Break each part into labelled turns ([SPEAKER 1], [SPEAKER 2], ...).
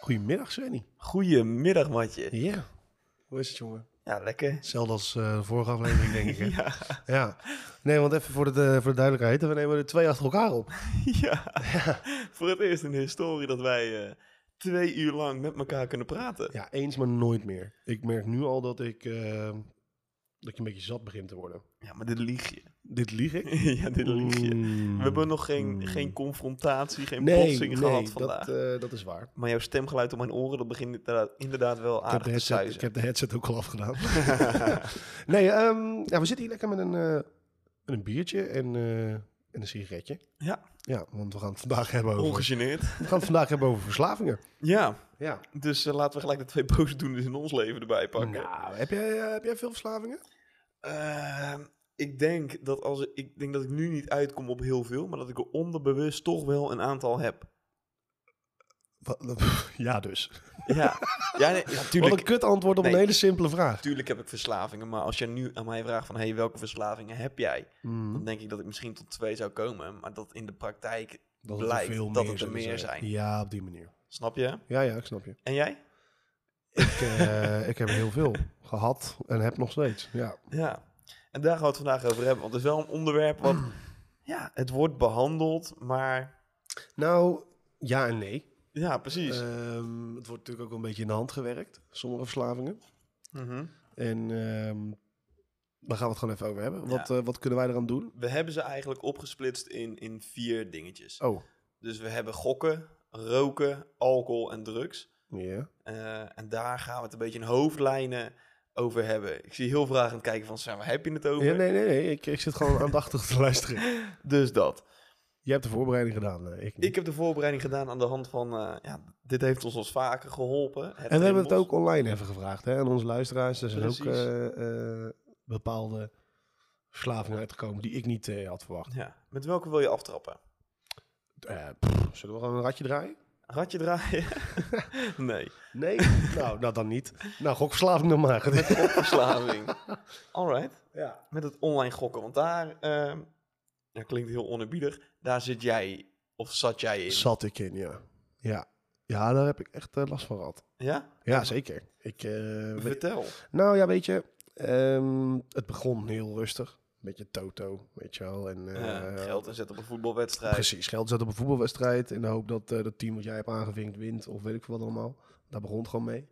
[SPEAKER 1] Goedemiddag, Svenny.
[SPEAKER 2] Goedemiddag, Matje.
[SPEAKER 1] Ja. Hoe is het, jongen?
[SPEAKER 2] Ja, lekker.
[SPEAKER 1] Hetzelfde als eh, de vorige aflevering, denk ik. Hè?
[SPEAKER 2] Ja,
[SPEAKER 1] Ja. Nee, want even voor de, voor de duidelijkheid. We nemen er twee achter elkaar op.
[SPEAKER 2] ja. Voor het eerst in de historie dat wij eh, twee uur lang met elkaar kunnen praten.
[SPEAKER 1] Ja, eens, maar nooit meer. Ik merk nu al dat ik, eh, dat ik een beetje zat begin te worden.
[SPEAKER 2] Ja, maar dit lieg je.
[SPEAKER 1] Dit lieg ik?
[SPEAKER 2] ja, dit lieg je.
[SPEAKER 1] Mm.
[SPEAKER 2] We hebben nog geen,
[SPEAKER 1] Mm.
[SPEAKER 2] geen confrontatie, geen
[SPEAKER 1] nee,
[SPEAKER 2] botsing
[SPEAKER 1] nee,
[SPEAKER 2] gehad
[SPEAKER 1] dat,
[SPEAKER 2] vandaag.
[SPEAKER 1] eh, dat is waar.
[SPEAKER 2] Maar jouw stemgeluid op mijn oren, dat begint inderdaad, inderdaad wel
[SPEAKER 1] Ik heb,
[SPEAKER 2] aardig
[SPEAKER 1] de
[SPEAKER 2] te
[SPEAKER 1] headset, ik
[SPEAKER 2] suizen.
[SPEAKER 1] heb de headset ook al afgedaan. nee, ehm, ja, we zitten hier lekker met een, eh, met een biertje en, eh, en een sigaretje.
[SPEAKER 2] Ja.
[SPEAKER 1] Ja, want we gaan het vandaag hebben over,
[SPEAKER 2] Ongegeneerd.
[SPEAKER 1] we gaan het vandaag hebben over verslavingen.
[SPEAKER 2] Ja,
[SPEAKER 1] Ja.
[SPEAKER 2] dus eh, laten we gelijk de twee boosdoeners in ons leven erbij pakken.
[SPEAKER 1] Nou, heb jij, eh, heb jij veel verslavingen?
[SPEAKER 2] Ehm, ik denk dat als ik, ik denk dat ik nu niet uitkom op heel veel, maar dat ik er onderbewust toch wel een aantal heb.
[SPEAKER 1] Wat- Ja, dus.
[SPEAKER 2] Ja, ja, nee, ja
[SPEAKER 1] Wat
[SPEAKER 2] tuurlijk,
[SPEAKER 1] een kut antwoord op een
[SPEAKER 2] Nee.
[SPEAKER 1] hele simpele vraag.
[SPEAKER 2] tuurlijk heb ik verslavingen, maar als je nu aan mij vraagt van hey, welke verslavingen heb jij,
[SPEAKER 1] Hmm.
[SPEAKER 2] dan denk ik dat ik misschien tot twee zou komen, maar dat in de praktijk,
[SPEAKER 1] Dat
[SPEAKER 2] blijkt dat het er
[SPEAKER 1] zullen
[SPEAKER 2] meer zijn.
[SPEAKER 1] Ja, op die manier.
[SPEAKER 2] snap je?
[SPEAKER 1] Ja, ja, ik snap je.
[SPEAKER 2] En jij?
[SPEAKER 1] Ik, eh, ik heb er heel veel gehad en heb nog steeds. Ja.
[SPEAKER 2] Ja, en daar gaan we het vandaag over hebben, want het is wel een onderwerp wat, ja, het wordt behandeld, maar
[SPEAKER 1] Nou, ja en nee.
[SPEAKER 2] ja, precies.
[SPEAKER 1] Ehm, het wordt natuurlijk ook wel een beetje in de hand gewerkt, sommige verslavingen.
[SPEAKER 2] Mhm.
[SPEAKER 1] En ehm daar gaan we het gewoon even over hebben.
[SPEAKER 2] Ja.
[SPEAKER 1] Wat, eh, wat kunnen wij eraan doen?
[SPEAKER 2] We hebben ze eigenlijk opgesplitst in, in vier dingetjes.
[SPEAKER 1] Oh,
[SPEAKER 2] Dus we hebben gokken, roken, alcohol en drugs.
[SPEAKER 1] ja.
[SPEAKER 2] Eh, en daar gaan we het een beetje in hoofdlijnen over hebben. Ik zie heel vragend kijken van, Sam, waar heb je het over?
[SPEAKER 1] Ja, nee, nee, nee. Ik, ik zit gewoon aandachtig te luisteren.
[SPEAKER 2] Dus dat.
[SPEAKER 1] Jij hebt de voorbereiding gedaan, eh, ik niet.
[SPEAKER 2] Ik heb de voorbereiding gedaan aan de hand van, eh, ja, dit heeft ons ons vaker geholpen.
[SPEAKER 1] en we hebben het ook online even gevraagd hè, aan onze luisteraars. Er zijn ook
[SPEAKER 2] Precies.
[SPEAKER 1] eh, eh, bepaalde verslavingen uitgekomen die ik niet eh, had verwacht.
[SPEAKER 2] Ja. Met welke wil je aftrappen?
[SPEAKER 1] Eh, pff, zullen we gewoon een ratje draaien?
[SPEAKER 2] Ratje draaien? nee,
[SPEAKER 1] Nee? nou, nou, dan niet. Nou, gokverslaving dan maar.
[SPEAKER 2] gokverslaving. Alright,
[SPEAKER 1] ja.
[SPEAKER 2] met het online gokken. Want daar, eh, dat klinkt heel onerbiedig, daar zit jij of zat jij in.
[SPEAKER 1] Zat ik in, ja. Ja, ja daar heb ik echt eh, last van gehad.
[SPEAKER 2] ja?
[SPEAKER 1] Ja, zeker. Ik, eh, weet-
[SPEAKER 2] Vertel.
[SPEAKER 1] nou ja, weet je, ehm, het begon heel rustig. Een beetje toto, weet je wel. En, eh,
[SPEAKER 2] Ja, geld inzetten op een voetbalwedstrijd.
[SPEAKER 1] Precies, geld zetten op een voetbalwedstrijd. In de hoop dat het team wat jij hebt aangevinkt wint. Of weet ik veel wat allemaal. Daar begon het gewoon mee.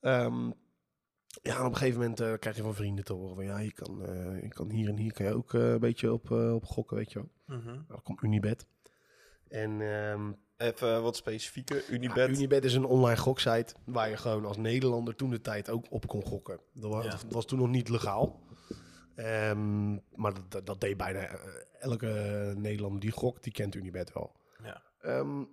[SPEAKER 1] Ehm, ja, en op een gegeven moment eh, krijg je van vrienden te horen. Van, ja, je kan, eh, je kan hier en hier kan je ook eh, een beetje op, eh, op gokken, weet je wel.
[SPEAKER 2] Mhm.
[SPEAKER 1] Dan komt Unibet. En ehm,
[SPEAKER 2] Even wat specifieker.
[SPEAKER 1] Ja,
[SPEAKER 2] Unibet.
[SPEAKER 1] Unibet is een online goksite waar je gewoon als Nederlander toen de tijd ook op kon gokken. Dat wa- dat
[SPEAKER 2] Ja.
[SPEAKER 1] was, toen nog niet legaal. Ehm, maar dat, dat, dat deed bijna eh, elke eh, Nederlander die gokt, die kent Unibet wel.
[SPEAKER 2] Ja.
[SPEAKER 1] Ehm,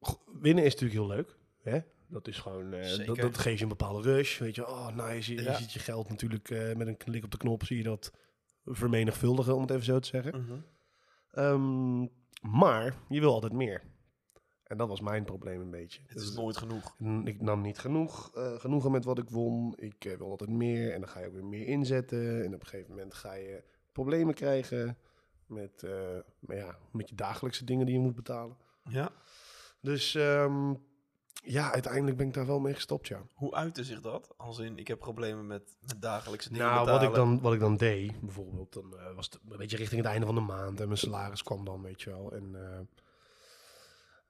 [SPEAKER 1] go- winnen is natuurlijk heel leuk. Hè? Dat is gewoon, eh, dat,
[SPEAKER 2] Zeker.
[SPEAKER 1] dat geeft je een bepaalde rush. Weet je, oh nice, je, je
[SPEAKER 2] Ja.
[SPEAKER 1] ziet je geld natuurlijk eh, met een klik op de knop, zie je dat vermenigvuldigen, om het even zo te zeggen.
[SPEAKER 2] Mhm.
[SPEAKER 1] Ehm, maar je wil altijd meer. En dat was mijn probleem een beetje.
[SPEAKER 2] Het is
[SPEAKER 1] Dus
[SPEAKER 2] nooit genoeg.
[SPEAKER 1] n- ik nam niet genoeg, eh, genoegen met wat ik won. Ik eh, wil altijd meer en dan ga je ook weer meer inzetten. En op een gegeven moment ga je problemen krijgen met, eh, maar ja, met je dagelijkse dingen die je moet betalen.
[SPEAKER 2] Ja.
[SPEAKER 1] Dus ehm, ja, uiteindelijk ben ik daar wel mee gestopt, ja.
[SPEAKER 2] Hoe uitte zich dat? Als in, ik heb problemen met, met dagelijkse dingen
[SPEAKER 1] Nou, wat
[SPEAKER 2] betalen.
[SPEAKER 1] ik, dan, wat ik dan deed, bijvoorbeeld, dan eh, was het een beetje richting het einde van de maand en mijn salaris kwam dan, weet je wel. En eh,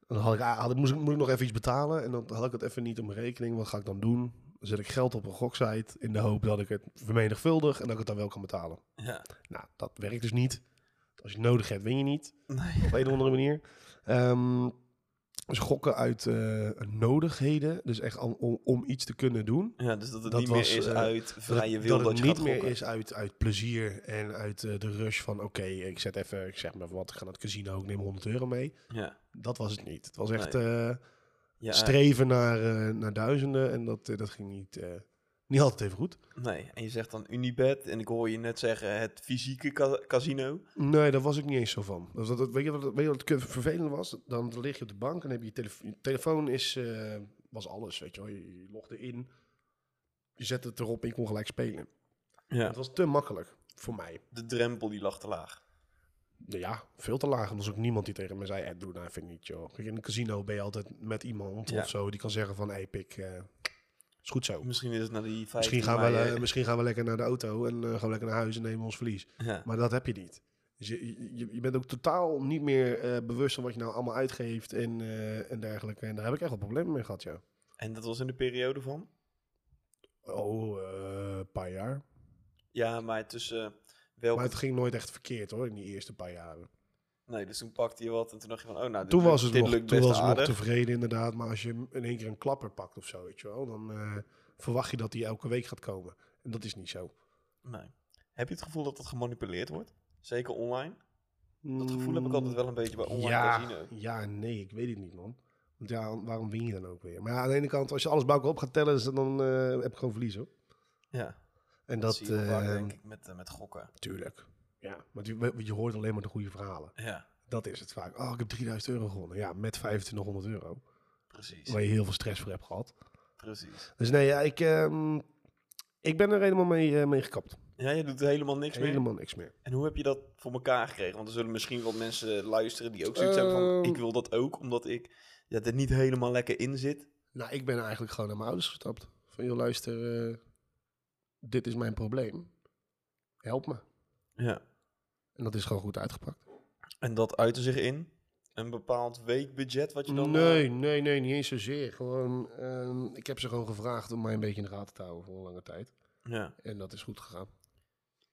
[SPEAKER 1] dan had ik, ah, had, ik- moest, ik, moest ik nog even iets betalen en dan had ik het even niet op mijn rekening. Wat ga ik dan doen? Dan zet ik geld op een goksite in de hoop dat ik het vermenigvuldig en dat ik het dan wel kan betalen.
[SPEAKER 2] Ja.
[SPEAKER 1] Nou, dat werkt dus niet. Als je het nodig hebt, win je niet.
[SPEAKER 2] Nee.
[SPEAKER 1] Op een of andere manier. Ehm, dus gokken uit eh, nodigheden, dus echt om- om, om iets te kunnen doen.
[SPEAKER 2] ja, dus dat het
[SPEAKER 1] Dat
[SPEAKER 2] niet
[SPEAKER 1] was,
[SPEAKER 2] meer is
[SPEAKER 1] eh,
[SPEAKER 2] uit
[SPEAKER 1] Dat
[SPEAKER 2] vrije
[SPEAKER 1] het,
[SPEAKER 2] wil dat,
[SPEAKER 1] dat het
[SPEAKER 2] je
[SPEAKER 1] niet
[SPEAKER 2] gaat
[SPEAKER 1] meer
[SPEAKER 2] gokken.
[SPEAKER 1] is uit, uit plezier en uit eh, de rush van... oké, ik zet even, ik zeg maar wat, ik ga naar het casino, ik neem 100 euro mee.
[SPEAKER 2] Ja.
[SPEAKER 1] Dat was het niet. Het was echt eh,
[SPEAKER 2] Ja,
[SPEAKER 1] streven naar, eh, naar duizenden en dat, eh, dat ging niet, eh, niet altijd even goed.
[SPEAKER 2] nee. En je zegt dan Unibet en ik hoor je net zeggen het fysieke ca- casino.
[SPEAKER 1] Nee, daar was ik niet eens zo van. Dat, dat, dat- weet, je wat, weet je wat het kut- vervelend was? Dan lig je op de bank en heb je, je, telefo- je telefoon is, eh, was alles, weet je wel. Je, je logde in, je zette het erop en je kon gelijk spelen.
[SPEAKER 2] Ja.
[SPEAKER 1] Het was te makkelijk voor mij.
[SPEAKER 2] De drempel die lag te laag.
[SPEAKER 1] Nou ja, veel te laag. En er is ook niemand die tegen me zei, eh, doe nou even niet, joh. Kijk, in een casino ben je altijd met iemand
[SPEAKER 2] Ja.
[SPEAKER 1] of zo die kan zeggen van, hey, pik, eh, is goed zo.
[SPEAKER 2] Misschien is het naar die vijf.
[SPEAKER 1] Misschien gaan, we, eh, misschien gaan we lekker naar de auto en eh, gaan we lekker naar huis en nemen ons verlies.
[SPEAKER 2] ja.
[SPEAKER 1] Maar dat heb je niet. Dus je, je, je bent ook totaal niet meer eh, bewust van wat je nou allemaal uitgeeft en, eh, en dergelijke. En daar heb ik echt wel problemen mee gehad, ja.
[SPEAKER 2] En dat was in de periode van?
[SPEAKER 1] Oh, eh, een paar jaar.
[SPEAKER 2] Ja, maar tussen eh, welke...
[SPEAKER 1] Maar het ging nooit echt verkeerd hoor, in die eerste paar jaren.
[SPEAKER 2] Nee, dus toen pakte je wat en toen dacht je van, oh nou, dit
[SPEAKER 1] Toen
[SPEAKER 2] lukt-
[SPEAKER 1] was het,
[SPEAKER 2] dit
[SPEAKER 1] nog,
[SPEAKER 2] lukt
[SPEAKER 1] toen
[SPEAKER 2] best
[SPEAKER 1] was het nog
[SPEAKER 2] aardig.
[SPEAKER 1] tevreden inderdaad. Maar als je hem in één keer een klapper pakt of zo, weet je wel, dan eh, verwacht je dat die elke week gaat komen. En dat is niet zo.
[SPEAKER 2] Nee. Heb je het gevoel dat dat gemanipuleerd wordt? Zeker online? Dat gevoel heb ik altijd wel een beetje bij online
[SPEAKER 1] ja,
[SPEAKER 2] casino.
[SPEAKER 1] Ja, en nee, ik weet het niet, man. Want ja, waarom win je dan ook weer? Maar ja, aan de ene kant, als je alles bij elkaar op gaat tellen, is het dan eh, heb ik gewoon verlies, hoor.
[SPEAKER 2] Ja,
[SPEAKER 1] En
[SPEAKER 2] dat
[SPEAKER 1] dat,
[SPEAKER 2] zie je wel vaak,
[SPEAKER 1] eh,
[SPEAKER 2] denk ik, met, eh, met gokken.
[SPEAKER 1] tuurlijk. Ja, want je, want je hoort alleen maar de goede verhalen.
[SPEAKER 2] Ja,
[SPEAKER 1] Dat is het vaak. Oh, ik heb 3000 euro gewonnen. Ja, met 2500 euro.
[SPEAKER 2] precies.
[SPEAKER 1] Waar je heel veel stress voor hebt gehad.
[SPEAKER 2] Precies.
[SPEAKER 1] Dus nee, ja, ik, ehm, ik ben er helemaal mee, eh, mee gekapt.
[SPEAKER 2] Ja, je doet helemaal niks meer.
[SPEAKER 1] helemaal niks meer.
[SPEAKER 2] En hoe heb je dat voor elkaar gekregen? Want er zullen misschien wat mensen luisteren die ook zoiets hebben van...
[SPEAKER 1] Ehm.
[SPEAKER 2] Ik wil dat ook, omdat ik ja, er niet helemaal lekker in zit.
[SPEAKER 1] Nou, ik ben eigenlijk gewoon naar mijn ouders gestapt. Van, joh, luister, eh, dit is mijn probleem. Help me.
[SPEAKER 2] Ja.
[SPEAKER 1] En dat is gewoon goed uitgepakt.
[SPEAKER 2] En dat uitte zich in? Een bepaald weekbudget wat je dan... eh,
[SPEAKER 1] Nee, nee, nee, niet eens zozeer. Gewoon, ehm, ik heb ze gewoon gevraagd om mij een beetje in de gaten te houden voor een lange tijd.
[SPEAKER 2] eh, ja,
[SPEAKER 1] En dat is goed gegaan.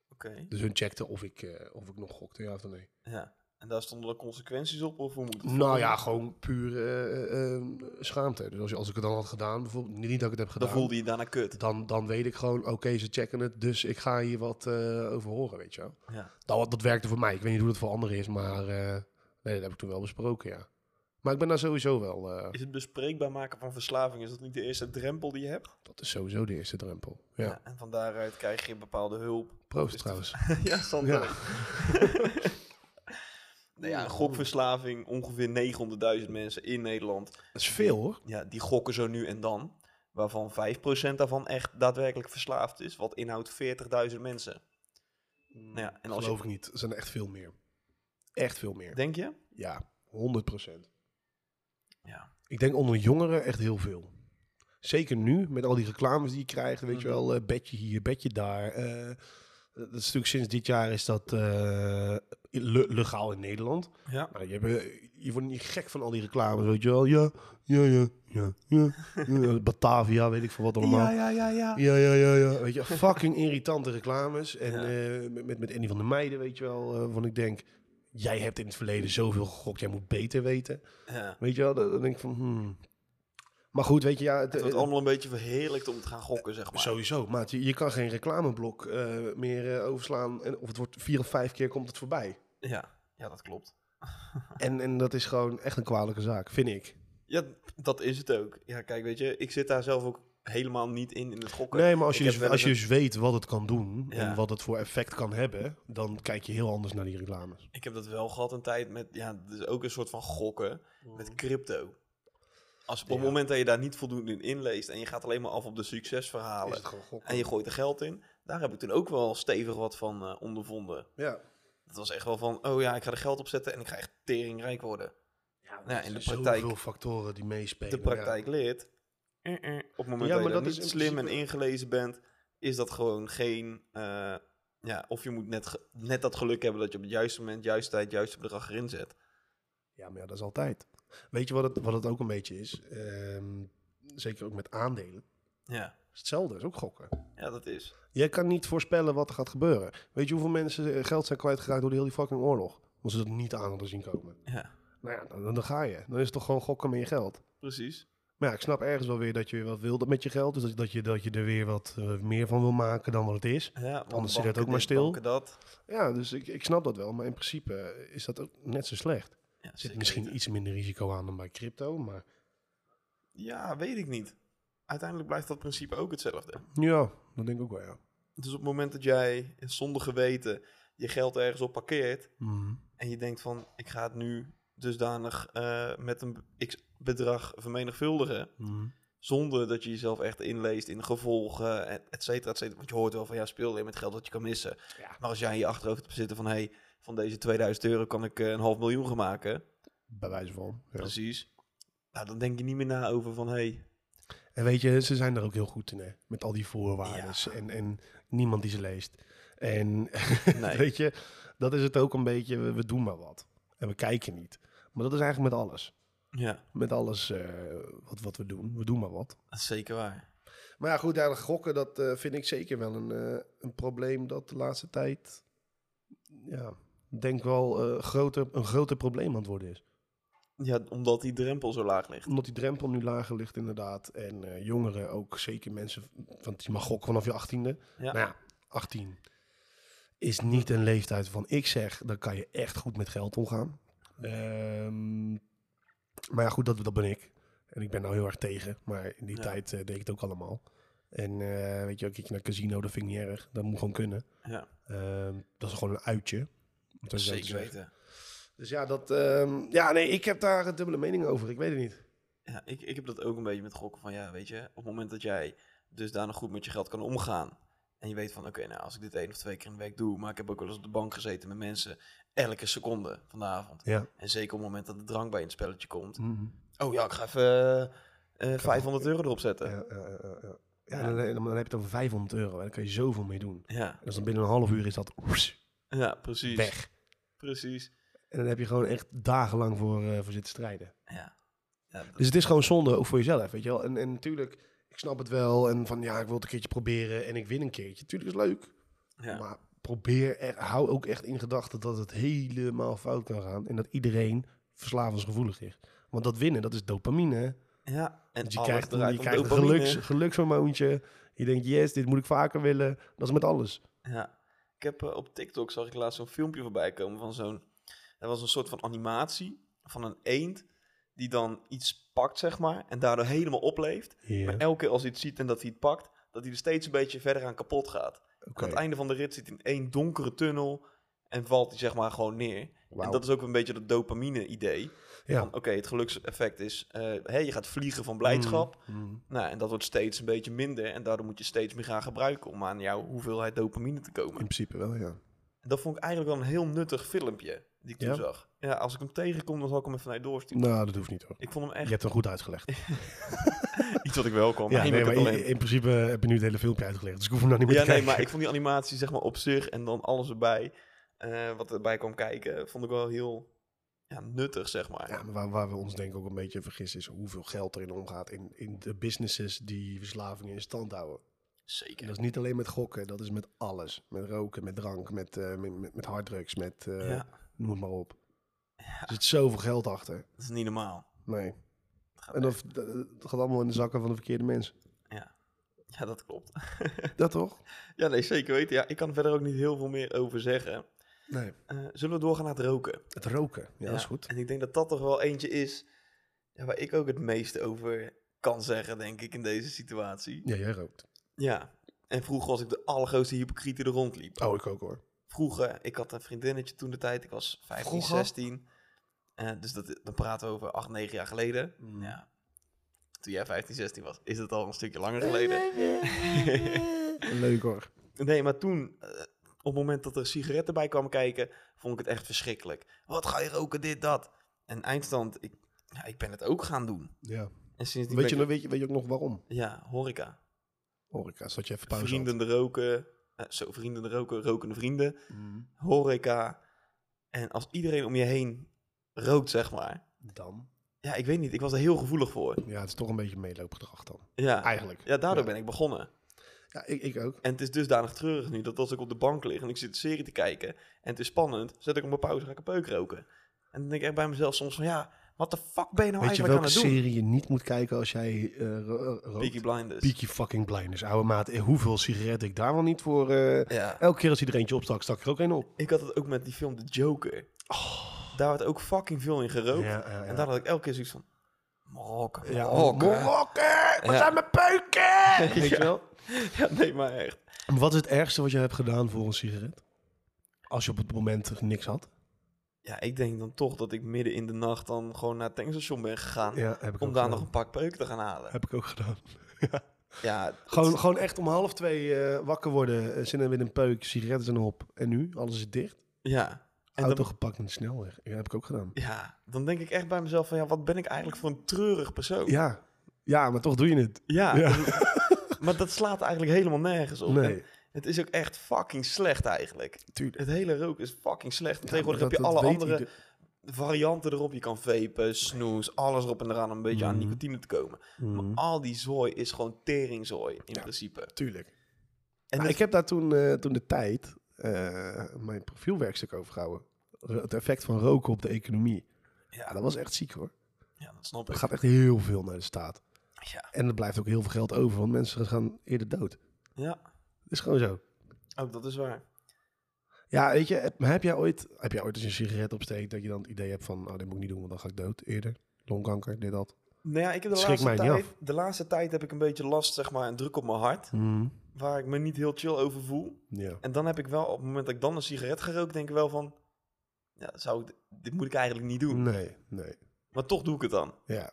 [SPEAKER 2] oké.
[SPEAKER 1] Dus hun checkten of ik, eh, of ik nog gokte, ja of nee.
[SPEAKER 2] Ja. En daar stonden er consequenties op? Of hoe moet het
[SPEAKER 1] Nou ja, gewoon puur eh, eh, schaamte. Dus als, je- als ik het dan had gedaan, bijvoorbeeld, niet dat ik het heb
[SPEAKER 2] Dan
[SPEAKER 1] gedaan.
[SPEAKER 2] voelde je je daarna kut.
[SPEAKER 1] dan, dan weet ik gewoon, oké, ze checken het, dus ik ga hier wat eh, over horen, weet je wel.
[SPEAKER 2] Ja.
[SPEAKER 1] Dat, dat werkte voor mij. Ik weet niet hoe dat voor anderen is, maar eh, nee, dat heb ik toen wel besproken, ja. Maar ik ben daar sowieso wel, eh,
[SPEAKER 2] Is het bespreekbaar maken van verslaving, is dat niet de eerste drempel die je hebt?
[SPEAKER 1] dat is sowieso de eerste drempel. Ja,
[SPEAKER 2] En van daaruit krijg je bepaalde hulp.
[SPEAKER 1] proost
[SPEAKER 2] Dus
[SPEAKER 1] trouwens.
[SPEAKER 2] ja, Sander.
[SPEAKER 1] Ja.
[SPEAKER 2] nou ja, een gokverslaving, ongeveer 900.000 mensen in Nederland.
[SPEAKER 1] Dat is veel, hoor.
[SPEAKER 2] Ja, die gokken zo nu en dan. Waarvan 5% daarvan echt daadwerkelijk verslaafd is. Wat inhoudt 40.000 mensen. Nou ja, en als
[SPEAKER 1] Geloof
[SPEAKER 2] je...
[SPEAKER 1] ik niet. Er zijn er echt veel meer. Echt veel meer.
[SPEAKER 2] Denk je?
[SPEAKER 1] Ja, 100 procent.
[SPEAKER 2] Ja.
[SPEAKER 1] Ik denk onder jongeren echt heel veel. Zeker nu, met al die reclames die je krijgt. Weet je wel, eh, bedje hier, bedje daar. eh, dat is natuurlijk sinds dit jaar is dat eh, le- legaal in Nederland.
[SPEAKER 2] Ja.
[SPEAKER 1] Maar je, hebt, eh, je wordt niet gek van al die reclames, weet je wel. Ja, ja, ja, ja, ja. ja, Batavia, weet ik veel wat allemaal.
[SPEAKER 2] ja, ja, ja.
[SPEAKER 1] Ja, ja, ja, ja. Weet je, fucking irritante reclames. En
[SPEAKER 2] Ja.
[SPEAKER 1] eh, met- met, met Andy van der Meijden, weet je wel. eh van ik denk, jij hebt in het verleden zoveel gegokt. Jij moet beter weten.
[SPEAKER 2] Ja.
[SPEAKER 1] Weet je wel, dan dan denk ik van, hmm. Maar goed, weet je, ja. Het,
[SPEAKER 2] Het wordt
[SPEAKER 1] eh,
[SPEAKER 2] allemaal een beetje verheerlijkt om te gaan gokken, zeg maar.
[SPEAKER 1] Sowieso, maat. Je, je kan geen reclameblok eh, meer eh, overslaan. En, of het wordt vier of vijf keer komt het voorbij.
[SPEAKER 2] Ja. ja, dat klopt.
[SPEAKER 1] En, en dat is gewoon echt een kwalijke zaak, vind ik.
[SPEAKER 2] Ja, dat is het ook. Ja, kijk, weet je, ik zit daar zelf ook helemaal niet in, in het gokken.
[SPEAKER 1] Nee, maar als je,
[SPEAKER 2] Ik heb
[SPEAKER 1] dus,
[SPEAKER 2] wel
[SPEAKER 1] als
[SPEAKER 2] eens
[SPEAKER 1] je dus weet wat het kan doen
[SPEAKER 2] Ja.
[SPEAKER 1] en wat het voor effect kan hebben, dan kijk je heel anders naar die reclames.
[SPEAKER 2] Ik heb dat wel gehad een tijd met, ja, dus ook een soort van gokken met crypto. Als op het
[SPEAKER 1] Mhm. Ja.
[SPEAKER 2] moment dat je daar niet voldoende in inleest en je gaat alleen maar af op de succesverhalen
[SPEAKER 1] gewoon gokken.
[SPEAKER 2] en je gooit er geld in, daar heb ik toen ook wel stevig wat van eh, ondervonden.
[SPEAKER 1] Ja.
[SPEAKER 2] Dat was echt wel van, oh ja, ik ga er geld op zetten en ik ga echt teringrijk worden.
[SPEAKER 1] Ja,
[SPEAKER 2] Nou, in de
[SPEAKER 1] Zoveel
[SPEAKER 2] praktijk-
[SPEAKER 1] factoren die meespelen.
[SPEAKER 2] De praktijk leert, eh, eh, op het moment
[SPEAKER 1] Ja,
[SPEAKER 2] dat
[SPEAKER 1] maar
[SPEAKER 2] je daar
[SPEAKER 1] dat
[SPEAKER 2] niet
[SPEAKER 1] is in
[SPEAKER 2] slim en
[SPEAKER 1] principe-
[SPEAKER 2] ingelezen bent, is dat gewoon geen, eh, ja, of je moet net, ge- net dat geluk hebben dat je op het juiste moment, juiste tijd, juiste bedrag erin zet.
[SPEAKER 1] Ja. ja, maar ja, dat is altijd. Weet je wat het, wat het ook een beetje is? Ehm, zeker ook met aandelen.
[SPEAKER 2] Ja,
[SPEAKER 1] Is Hetzelfde is ook gokken.
[SPEAKER 2] ja dat is.
[SPEAKER 1] Jij kan niet voorspellen wat er gaat gebeuren. Weet je hoeveel mensen eh, geld zijn kwijtgeraakt door die hele fucking oorlog? Omdat ze dat niet aan hadden zien komen.
[SPEAKER 2] Ja.
[SPEAKER 1] Nou ja, dan, dan ga je. Dan is het toch gewoon gokken met je geld.
[SPEAKER 2] Precies.
[SPEAKER 1] Maar ja, ik snap ergens wel weer dat je weer wat wil met je geld. Dus dat, dat, je, dat je er weer wat eh, meer van wil maken dan wat het is.
[SPEAKER 2] Ja, want
[SPEAKER 1] Anders zit het
[SPEAKER 2] banken
[SPEAKER 1] ook maar
[SPEAKER 2] dit,
[SPEAKER 1] stil.
[SPEAKER 2] banken Dat.
[SPEAKER 1] Ja, dus ik, ik snap dat wel. Maar in principe is dat ook net zo slecht.
[SPEAKER 2] Ja,
[SPEAKER 1] Er zit
[SPEAKER 2] zeker
[SPEAKER 1] misschien
[SPEAKER 2] weten.
[SPEAKER 1] iets minder risico aan dan bij crypto, maar
[SPEAKER 2] Ja, weet ik niet. Uiteindelijk blijft dat principe ook hetzelfde.
[SPEAKER 1] ja, dat denk ik ook wel, ja.
[SPEAKER 2] Dus op het moment dat jij zonder geweten je geld ergens op parkeert en je denkt van ik ga het nu dusdanig eh, met een x bedrag vermenigvuldigen, zonder dat je jezelf echt inleest in de gevolgen, et et cetera, et cetera. Want je hoort wel van ja, speel je met geld dat je kan missen.
[SPEAKER 1] Ja.
[SPEAKER 2] Maar als jij in je achterhoofd hebt zitten van hé, hey, van deze 2000 euro kan ik eh, een half miljoen gaan maken.
[SPEAKER 1] Bij wijze van. ja.
[SPEAKER 2] Precies. Nou, dan denk je niet meer na over van, hey,
[SPEAKER 1] En weet je, ze zijn er ook heel goed in, hè? Met al die voorwaarden
[SPEAKER 2] Ja.
[SPEAKER 1] en, en niemand die ze leest. En
[SPEAKER 2] nee.
[SPEAKER 1] weet je, dat is het ook een beetje, we, we doen maar wat. En we kijken niet. Maar dat is eigenlijk met alles.
[SPEAKER 2] Ja,
[SPEAKER 1] Met alles eh, wat, wat we doen. We doen maar wat.
[SPEAKER 2] dat is zeker waar.
[SPEAKER 1] Maar ja, goed, daar gokken, dat eh, vind ik zeker wel een, eh, een probleem dat de laatste tijd, ja, denk wel eh, groter, een groter probleem aan het worden is.
[SPEAKER 2] Ja, omdat die drempel zo laag ligt.
[SPEAKER 1] Omdat die drempel nu lager ligt inderdaad. En eh, jongeren ook, zeker mensen, want je mag gokken vanaf je achttiende.
[SPEAKER 2] Ja.
[SPEAKER 1] Nou ja, 18 is niet een leeftijd van ik zeg, dan kan je echt goed met geld omgaan. Ehm, maar ja, goed, dat, dat ben ik. En ik ben nou heel erg tegen, maar in die
[SPEAKER 2] Ja.
[SPEAKER 1] tijd eh, deed ik het ook allemaal. En eh, weet je, ook een keertje naar casino, dat vind ik niet erg. Dat moet gewoon kunnen.
[SPEAKER 2] Ja,
[SPEAKER 1] Ehm, dat is gewoon een uitje. om het zo te
[SPEAKER 2] zeker
[SPEAKER 1] zeggen.
[SPEAKER 2] weten.
[SPEAKER 1] Dus ja, dat, ehm, ja, nee, ik heb daar een dubbele mening over. Ik weet het niet.
[SPEAKER 2] Ja, ik, ik heb dat ook een beetje met gokken van, ja, weet je, op het moment dat jij dusdanig goed met je geld kan omgaan. En je weet van, oké, nou, als ik dit één of twee keer in de week doe, maar ik heb ook wel eens op de bank gezeten met mensen, elke seconde van de avond.
[SPEAKER 1] Ja. Mm.
[SPEAKER 2] En zeker op het moment dat de drank bij in het spelletje komt. Oh ja, ik ga even eh, eh, 500 euro erop zetten. Ja.
[SPEAKER 1] Ja, ja, ja, ja, ja. eh, Ja, en dan, dan heb je het over 500 euro. En daar kan je zoveel mee doen.
[SPEAKER 2] Ja,
[SPEAKER 1] Dus dan binnen een half uur is dat
[SPEAKER 2] precies.
[SPEAKER 1] weg.
[SPEAKER 2] Precies.
[SPEAKER 1] En dan heb je gewoon echt dagenlang voor, eh, voor zitten strijden.
[SPEAKER 2] Ja. Ja, dat-
[SPEAKER 1] Dus het is gewoon zonde, ook voor jezelf, weet je wel. En, en natuurlijk, ik snap het wel. En van, ja, ik wil het een keertje proberen en ik win een keertje. Tuurlijk is het leuk.
[SPEAKER 2] ja.
[SPEAKER 1] Maar probeer, er, hou ook echt in gedachten dat het helemaal fout kan gaan. En dat iedereen verslavingsgevoelig is. Want dat winnen, dat is dopamine. hè?
[SPEAKER 2] Ja, en
[SPEAKER 1] Dus je
[SPEAKER 2] alles
[SPEAKER 1] krijgt,
[SPEAKER 2] draait
[SPEAKER 1] je
[SPEAKER 2] om
[SPEAKER 1] krijgt een
[SPEAKER 2] dopamine.
[SPEAKER 1] geluks, gelukshormoontje. Je denkt, yes, dit moet ik vaker willen. Dat is met alles.
[SPEAKER 2] Ja. Ik heb eh, op TikTok zag ik laatst zo'n filmpje voorbij komen van zo'n. Er was een soort van animatie van een eend die dan iets pakt, zeg maar, en daardoor helemaal opleeft. Maar elke keer als hij het ziet en dat hij het pakt, dat hij er steeds een beetje verder aan kapot gaat.
[SPEAKER 1] Oké.
[SPEAKER 2] Aan het einde van de rit zit hij in één donkere tunnel en valt hij zeg maar gewoon neer. En dat is ook een beetje dat dopamine-idee.
[SPEAKER 1] Ja.
[SPEAKER 2] Van Oké, het gelukseffect is, eh, hè, je gaat vliegen van blijdschap.
[SPEAKER 1] Mm, mm.
[SPEAKER 2] Nou, en dat wordt steeds een beetje minder. En daardoor moet je steeds meer gaan gebruiken om aan jouw hoeveelheid dopamine te
[SPEAKER 1] In
[SPEAKER 2] komen.
[SPEAKER 1] principe wel, ja.
[SPEAKER 2] En dat vond ik eigenlijk wel een heel nuttig filmpje die ik toen
[SPEAKER 1] Ja?
[SPEAKER 2] zag. Ja, als ik hem tegenkom, dan zal ik hem even naar je doorsturen.
[SPEAKER 1] Nou, dat hoeft niet hoor.
[SPEAKER 2] Ik vond hem
[SPEAKER 1] Je
[SPEAKER 2] echt
[SPEAKER 1] hebt het goed uitgelegd.
[SPEAKER 2] iets wat ik wel kon.
[SPEAKER 1] Ja,
[SPEAKER 2] maar
[SPEAKER 1] nee,
[SPEAKER 2] iemand
[SPEAKER 1] maar
[SPEAKER 2] had
[SPEAKER 1] in,
[SPEAKER 2] alleen-
[SPEAKER 1] in principe heb je nu het hele filmpje uitgelegd. Dus ik hoef hem nou niet meer
[SPEAKER 2] Ja,
[SPEAKER 1] te
[SPEAKER 2] nee,
[SPEAKER 1] kijken.
[SPEAKER 2] maar ik vond die animatie zeg maar op zich en dan alles erbij, eh, wat erbij kwam kijken, vond ik wel heel ja, nuttig, zeg maar.
[SPEAKER 1] Ja, maar waar, waar we ons denk ik ook een beetje vergissen is hoeveel geld erin omgaat in, in de businesses die verslavingen in stand houden. En
[SPEAKER 2] Zeker.
[SPEAKER 1] dat is niet alleen met gokken, dat is met alles. Met roken, met drank, met, eh, met, met, met harddrugs, met eh,
[SPEAKER 2] ja,
[SPEAKER 1] noem het maar op. Er zit zoveel geld achter.
[SPEAKER 2] dat is niet normaal.
[SPEAKER 1] Nee.
[SPEAKER 2] Dat gaat
[SPEAKER 1] En dat, dat gaat allemaal in de zakken van de verkeerde mensen.
[SPEAKER 2] echt- Ja, dat klopt.
[SPEAKER 1] Dat toch?
[SPEAKER 2] Ja, nee, zeker weten. Ja, ik kan er verder ook niet heel veel meer over zeggen.
[SPEAKER 1] Nee.
[SPEAKER 2] Eh, zullen we doorgaan naar het roken?
[SPEAKER 1] Het roken. Ja, dat is goed.
[SPEAKER 2] En ik denk dat dat toch wel eentje is ja, waar ik ook het meeste over kan zeggen, denk ik, in deze situatie.
[SPEAKER 1] Ja, jij rookt.
[SPEAKER 2] Ja. En vroeger was ik de allergrootste hypocriet die er rondliep.
[SPEAKER 1] Oh, ik ook hoor.
[SPEAKER 2] vroeger, ik had een vriendinnetje toen de tijd, ik was 15,
[SPEAKER 1] Vroeger?
[SPEAKER 2] 16. Eh, dus dat, dan praten we over 8, 9 jaar geleden.
[SPEAKER 1] Mm.
[SPEAKER 2] Ja. Toen jij 15, 16 was, is dat al een stukje langer geleden.
[SPEAKER 1] Leuk hoor.
[SPEAKER 2] Nee, maar toen, eh, op het moment dat er sigaretten bij kwamen kijken, vond ik het echt verschrikkelijk. Wat ga je roken, dit, dat? En eindstand, ik, ja, ik ben het ook gaan doen.
[SPEAKER 1] Ja.
[SPEAKER 2] En sindsdien
[SPEAKER 1] Weet je,
[SPEAKER 2] ben
[SPEAKER 1] nog-
[SPEAKER 2] ik-
[SPEAKER 1] weet, je, weet je ook nog waarom?
[SPEAKER 2] Ja, horeca.
[SPEAKER 1] Horeca, zodat je even pauze had.
[SPEAKER 2] vrienden roken, eh, zo vrienden roken, rokende vrienden. horeca. En als iedereen om je heen rookt, zeg maar.
[SPEAKER 1] Dan?
[SPEAKER 2] Ja, ik weet niet. Ik was er heel gevoelig voor.
[SPEAKER 1] Ja, het is toch een beetje meeloopgedrag dan.
[SPEAKER 2] Ja,
[SPEAKER 1] Eigenlijk.
[SPEAKER 2] ja daardoor
[SPEAKER 1] Ja.
[SPEAKER 2] ben ik begonnen.
[SPEAKER 1] Ja, ik, ik ook.
[SPEAKER 2] En het is dusdanig treurig nu dat als ik op de bank lig en ik zit een serie te kijken en het is spannend, zet ik op mijn pauze en ga ik een peuk roken. En dan denk ik echt bij mezelf soms van ja, wat de fuck ben je nou
[SPEAKER 1] Weet je
[SPEAKER 2] eigenlijk aan
[SPEAKER 1] welke
[SPEAKER 2] het doen?
[SPEAKER 1] serie je niet moet kijken als jij eh, ro- eh, rookt?
[SPEAKER 2] Peaky Blinders.
[SPEAKER 1] Peaky fucking Blinders. Oude maat, eh, hoeveel sigaretten ik daar wel niet voor... eh,
[SPEAKER 2] Ja.
[SPEAKER 1] Elke keer als iedereen opstak, stak ik er ook één op.
[SPEAKER 2] Ik had het ook met die film The Joker. Daar werd ook fucking veel in gerookt.
[SPEAKER 1] Oh. Ja, ja, ja.
[SPEAKER 2] En daar had ik elke keer zoiets van, Marokko,
[SPEAKER 1] Ja,
[SPEAKER 2] Marokko.
[SPEAKER 1] Mokken! We
[SPEAKER 2] Ja.
[SPEAKER 1] zijn mijn peuken! Weet
[SPEAKER 2] Ja.
[SPEAKER 1] je wel?
[SPEAKER 2] Ja, nee, maar echt.
[SPEAKER 1] Maar Wat is het ergste wat je hebt gedaan voor een sigaret? Als je op het moment niks had?
[SPEAKER 2] Ja, ik denk dan toch dat ik midden in de nacht dan gewoon naar het tankstation ben gegaan.
[SPEAKER 1] Ja, heb ik
[SPEAKER 2] om
[SPEAKER 1] ook
[SPEAKER 2] daar
[SPEAKER 1] gedaan.
[SPEAKER 2] nog een pak peuk te gaan halen.
[SPEAKER 1] Heb ik ook gedaan.
[SPEAKER 2] Ja,
[SPEAKER 1] Gewoon,
[SPEAKER 2] het-
[SPEAKER 1] gewoon echt om half twee eh, wakker worden, eh, zin en weer een peuk, sigaretten zijn op. En nu? Alles is dicht.
[SPEAKER 2] ja. En
[SPEAKER 1] auto
[SPEAKER 2] dan,
[SPEAKER 1] gepakt en de snelweg. Ja, heb ik ook gedaan.
[SPEAKER 2] ja, dan denk ik echt bij mezelf van ja, wat ben ik eigenlijk voor een treurig persoon? Ja,
[SPEAKER 1] Ja, ja maar toch doe je het. Ja.
[SPEAKER 2] dat- maar dat slaat eigenlijk helemaal nergens op.
[SPEAKER 1] Nee,
[SPEAKER 2] En Het is ook echt fucking slecht eigenlijk.
[SPEAKER 1] tuurlijk.
[SPEAKER 2] Het hele roken is fucking slecht. En
[SPEAKER 1] Ja,
[SPEAKER 2] tegenwoordig
[SPEAKER 1] maar
[SPEAKER 2] heb je
[SPEAKER 1] dat-
[SPEAKER 2] alle
[SPEAKER 1] dat weet
[SPEAKER 2] andere
[SPEAKER 1] ieder-
[SPEAKER 2] varianten erop. Je kan vapen, snoes, alles erop en eraan om een beetje aan
[SPEAKER 1] Mhm.
[SPEAKER 2] nicotine te komen.
[SPEAKER 1] Mhm.
[SPEAKER 2] Maar al die zooi is gewoon teringzooi in
[SPEAKER 1] Ja.
[SPEAKER 2] principe.
[SPEAKER 1] Tuurlijk.
[SPEAKER 2] En
[SPEAKER 1] Nou,
[SPEAKER 2] dat-
[SPEAKER 1] ik heb daar toen, eh, toen de tijd eh, mijn profielwerkstuk over gehouden. R- Het effect van roken op de economie. Ja,
[SPEAKER 2] ja,
[SPEAKER 1] dat was echt ziek hoor.
[SPEAKER 2] ja, dat snap
[SPEAKER 1] Er
[SPEAKER 2] ik.
[SPEAKER 1] gaat echt heel veel naar de staat.
[SPEAKER 2] Ja.
[SPEAKER 1] En er blijft ook heel veel geld over, want mensen gaan eerder dood.
[SPEAKER 2] ja,
[SPEAKER 1] Dat is gewoon zo.
[SPEAKER 2] ook dat is waar.
[SPEAKER 1] Ja, weet je, heb, maar heb jij ooit, heb jij ooit als je een sigaret opsteekt dat je dan het idee hebt van, oh, dit moet ik niet doen, want dan ga ik dood eerder. Longkanker, dit, dat.
[SPEAKER 2] Nou ja, ik heb de
[SPEAKER 1] Schrik
[SPEAKER 2] laatste,
[SPEAKER 1] mij niet
[SPEAKER 2] tijd,
[SPEAKER 1] af.
[SPEAKER 2] de laatste tijd heb ik een beetje last, zeg maar, een druk op mijn hart. Waar ik me niet heel chill over voel.
[SPEAKER 1] Ja.
[SPEAKER 2] En dan heb ik wel, op het moment dat ik dan een sigaret ga roken, denk ik wel van... Ja, zou ik, dit moet ik eigenlijk niet doen.
[SPEAKER 1] Nee, nee.
[SPEAKER 2] Maar toch doe ik het dan.
[SPEAKER 1] Ja.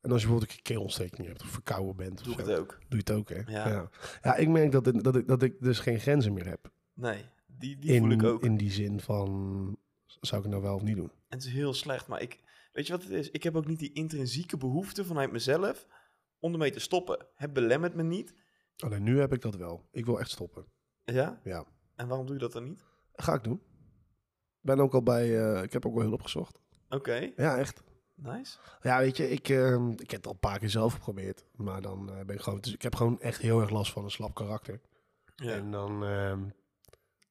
[SPEAKER 1] En als je bijvoorbeeld een keer keelontsteking hebt of verkouden bent of
[SPEAKER 2] Doe ik
[SPEAKER 1] zo,
[SPEAKER 2] het ook.
[SPEAKER 1] doe je het ook, hè?
[SPEAKER 2] Ja.
[SPEAKER 1] ja. Ja, ik merk dat, dat, ik, dat ik dus geen grenzen meer heb.
[SPEAKER 2] Nee, die, die voel ik
[SPEAKER 1] in,
[SPEAKER 2] ook.
[SPEAKER 1] in die zin van, zou ik het nou wel of niet doen?
[SPEAKER 2] En het is heel slecht, maar ik... Weet je wat het is? Ik heb ook niet die intrinsieke behoefte vanuit mezelf om ermee te stoppen. Het belemmert me niet.
[SPEAKER 1] Alleen nu heb ik dat wel. Ik wil echt stoppen.
[SPEAKER 2] Ja?
[SPEAKER 1] Ja.
[SPEAKER 2] En waarom doe je dat dan niet?
[SPEAKER 1] Ga ik doen. Ben ook al bij, eh, ik heb ook wel hulp opgezocht.
[SPEAKER 2] Oké,
[SPEAKER 1] Ja, echt.
[SPEAKER 2] nice.
[SPEAKER 1] Ja, weet je, ik, ehm, ik heb het al een paar keer zelf geprobeerd. Maar dan eh, ben ik gewoon, dus ik heb gewoon echt heel erg last van een slap karakter.
[SPEAKER 2] Ja.
[SPEAKER 1] En dan, ehm,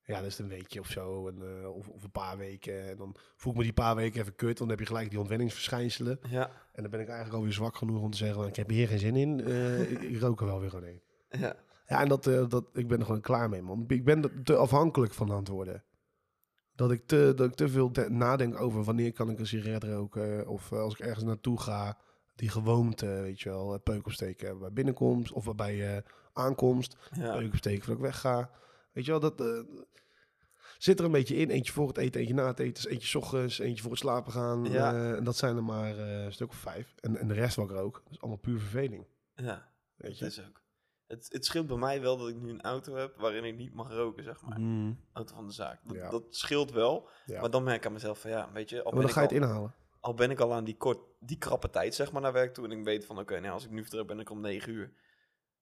[SPEAKER 1] ja, dat is het een weekje of zo. En, eh, of, of een paar weken. En dan voel ik me die paar weken even kut. want Dan heb je gelijk die ontwenningsverschijnselen.
[SPEAKER 2] Ja,
[SPEAKER 1] En dan ben ik eigenlijk alweer zwak genoeg om te zeggen, ik heb hier geen zin in. Eh, ik, ik rook er wel weer gewoon een.
[SPEAKER 2] ja.
[SPEAKER 1] Ja, en dat, eh, dat, ik ben er gewoon klaar mee, man. Ik ben er te afhankelijk van aan het worden. Dat ik te, dat ik te veel de- nadenk over wanneer kan ik een sigaret roken. Of eh, als ik ergens naartoe ga, die gewoonte, weet je wel. eh, Peuk opsteken bij binnenkomst of bij eh, aankomst.
[SPEAKER 2] ja.
[SPEAKER 1] Peuk opsteken voordat ik wegga. Weet je wel, dat eh, zit er een beetje in. Eentje voor het eten, eentje na het eten. dus Eentje 's ochtends, eentje voor het slapen gaan.
[SPEAKER 2] Ja.
[SPEAKER 1] Eh, en dat zijn er maar eh, een stuk of vijf. En, en de rest wat ik rook, dat is allemaal puur verveling.
[SPEAKER 2] ja.
[SPEAKER 1] Weet je?
[SPEAKER 2] Dat is ook. Het, het scheelt bij mij wel dat ik nu een auto heb waarin ik niet mag roken, zeg maar. Auto van de zaak. Dat,
[SPEAKER 1] Ja.
[SPEAKER 2] dat scheelt wel.
[SPEAKER 1] Ja.
[SPEAKER 2] Maar dan merk ik aan mezelf van ja, weet je, al
[SPEAKER 1] Maar
[SPEAKER 2] ben,
[SPEAKER 1] dan
[SPEAKER 2] ik
[SPEAKER 1] ga je het
[SPEAKER 2] al,
[SPEAKER 1] inhalen.
[SPEAKER 2] al ben ik al aan die, kort, die krappe tijd, zeg maar, naar werk toe. En ik weet van oké, nou als ik nu vertrek ben ik om 9 uur.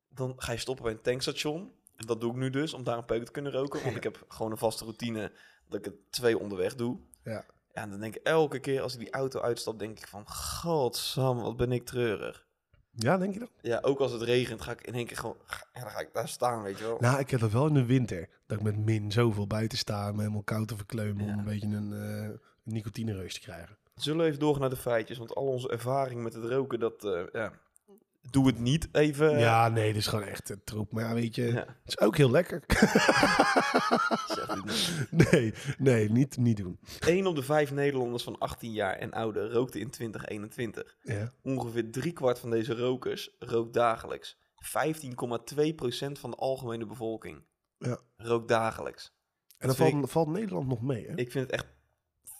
[SPEAKER 2] Dan ga je stoppen bij een tankstation. En dat doe ik nu dus, om daar een peuk te kunnen roken. Want ik heb gewoon een vaste routine dat ik het twee onderweg doe.
[SPEAKER 1] Ja.
[SPEAKER 2] Ja, en dan denk ik elke keer als ik die auto uitstap, denk ik van... Godsam, wat ben ik treurig.
[SPEAKER 1] Ja, denk je dat?
[SPEAKER 2] Ja, ook als het regent, ga ik in één keer gewoon... Ja, dan ga ik daar staan, weet je wel.
[SPEAKER 1] Nou, ik heb dat wel in de winter. Dat ik met min zoveel buiten sta, me helemaal koud te verkleumen
[SPEAKER 2] Ja.
[SPEAKER 1] om een beetje een eh nicotinereus te krijgen.
[SPEAKER 2] Zullen we even doorgaan naar de feitjes? Want al onze ervaring met het roken, dat... eh, ja, doe het niet even.
[SPEAKER 1] ja, nee, dit is gewoon echt een troep. Maar ja, weet je,
[SPEAKER 2] Eh. Ja.
[SPEAKER 1] het is ook heel lekker.
[SPEAKER 2] Zeg dit niet.
[SPEAKER 1] nee, nee, niet, niet doen.
[SPEAKER 2] Eén op de vijf Nederlanders van 18 jaar en ouder rookte in 2021.
[SPEAKER 1] Ja.
[SPEAKER 2] Ongeveer driekwart van deze rokers rookt dagelijks. 15,2% van de algemene bevolking
[SPEAKER 1] Ja.
[SPEAKER 2] rookt dagelijks.
[SPEAKER 1] En dan
[SPEAKER 2] Twee-
[SPEAKER 1] valt, valt Nederland nog mee, hè?
[SPEAKER 2] Ik vind het echt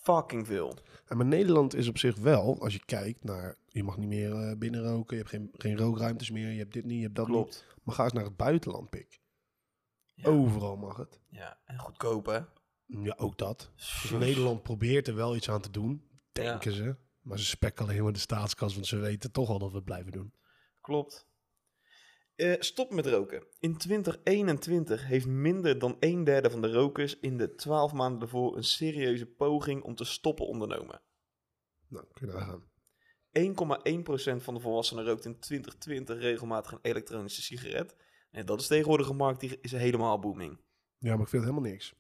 [SPEAKER 2] fucking veel.
[SPEAKER 1] En maar Nederland is op zich wel, als je kijkt naar... Je mag niet meer eh binnenroken, je hebt geen, geen rookruimtes meer, je hebt dit niet, je hebt dat niet.
[SPEAKER 2] Klopt.
[SPEAKER 1] Maar ga eens naar het buitenland, pik.
[SPEAKER 2] Ja.
[SPEAKER 1] Overal mag het.
[SPEAKER 2] Ja, en goedkoop, hè?
[SPEAKER 1] Ja, ook dat. Dus Nederland probeert er wel iets aan te doen, denken ze. Maar ze spekken alleen maar de staatskas, want ze weten toch al dat we het blijven doen.
[SPEAKER 2] Klopt. Eh, stop met roken. In 2021 heeft minder dan een derde van de rokers in de 12 maanden ervoor een serieuze poging om te stoppen ondernomen.
[SPEAKER 1] Nou, kun je daar gaan.
[SPEAKER 2] 1,1% van de volwassenen rookt in 2020 regelmatig een elektronische sigaret. En dat is tegenwoordig een markt die is helemaal booming.
[SPEAKER 1] Ja, maar ik vind het helemaal niks.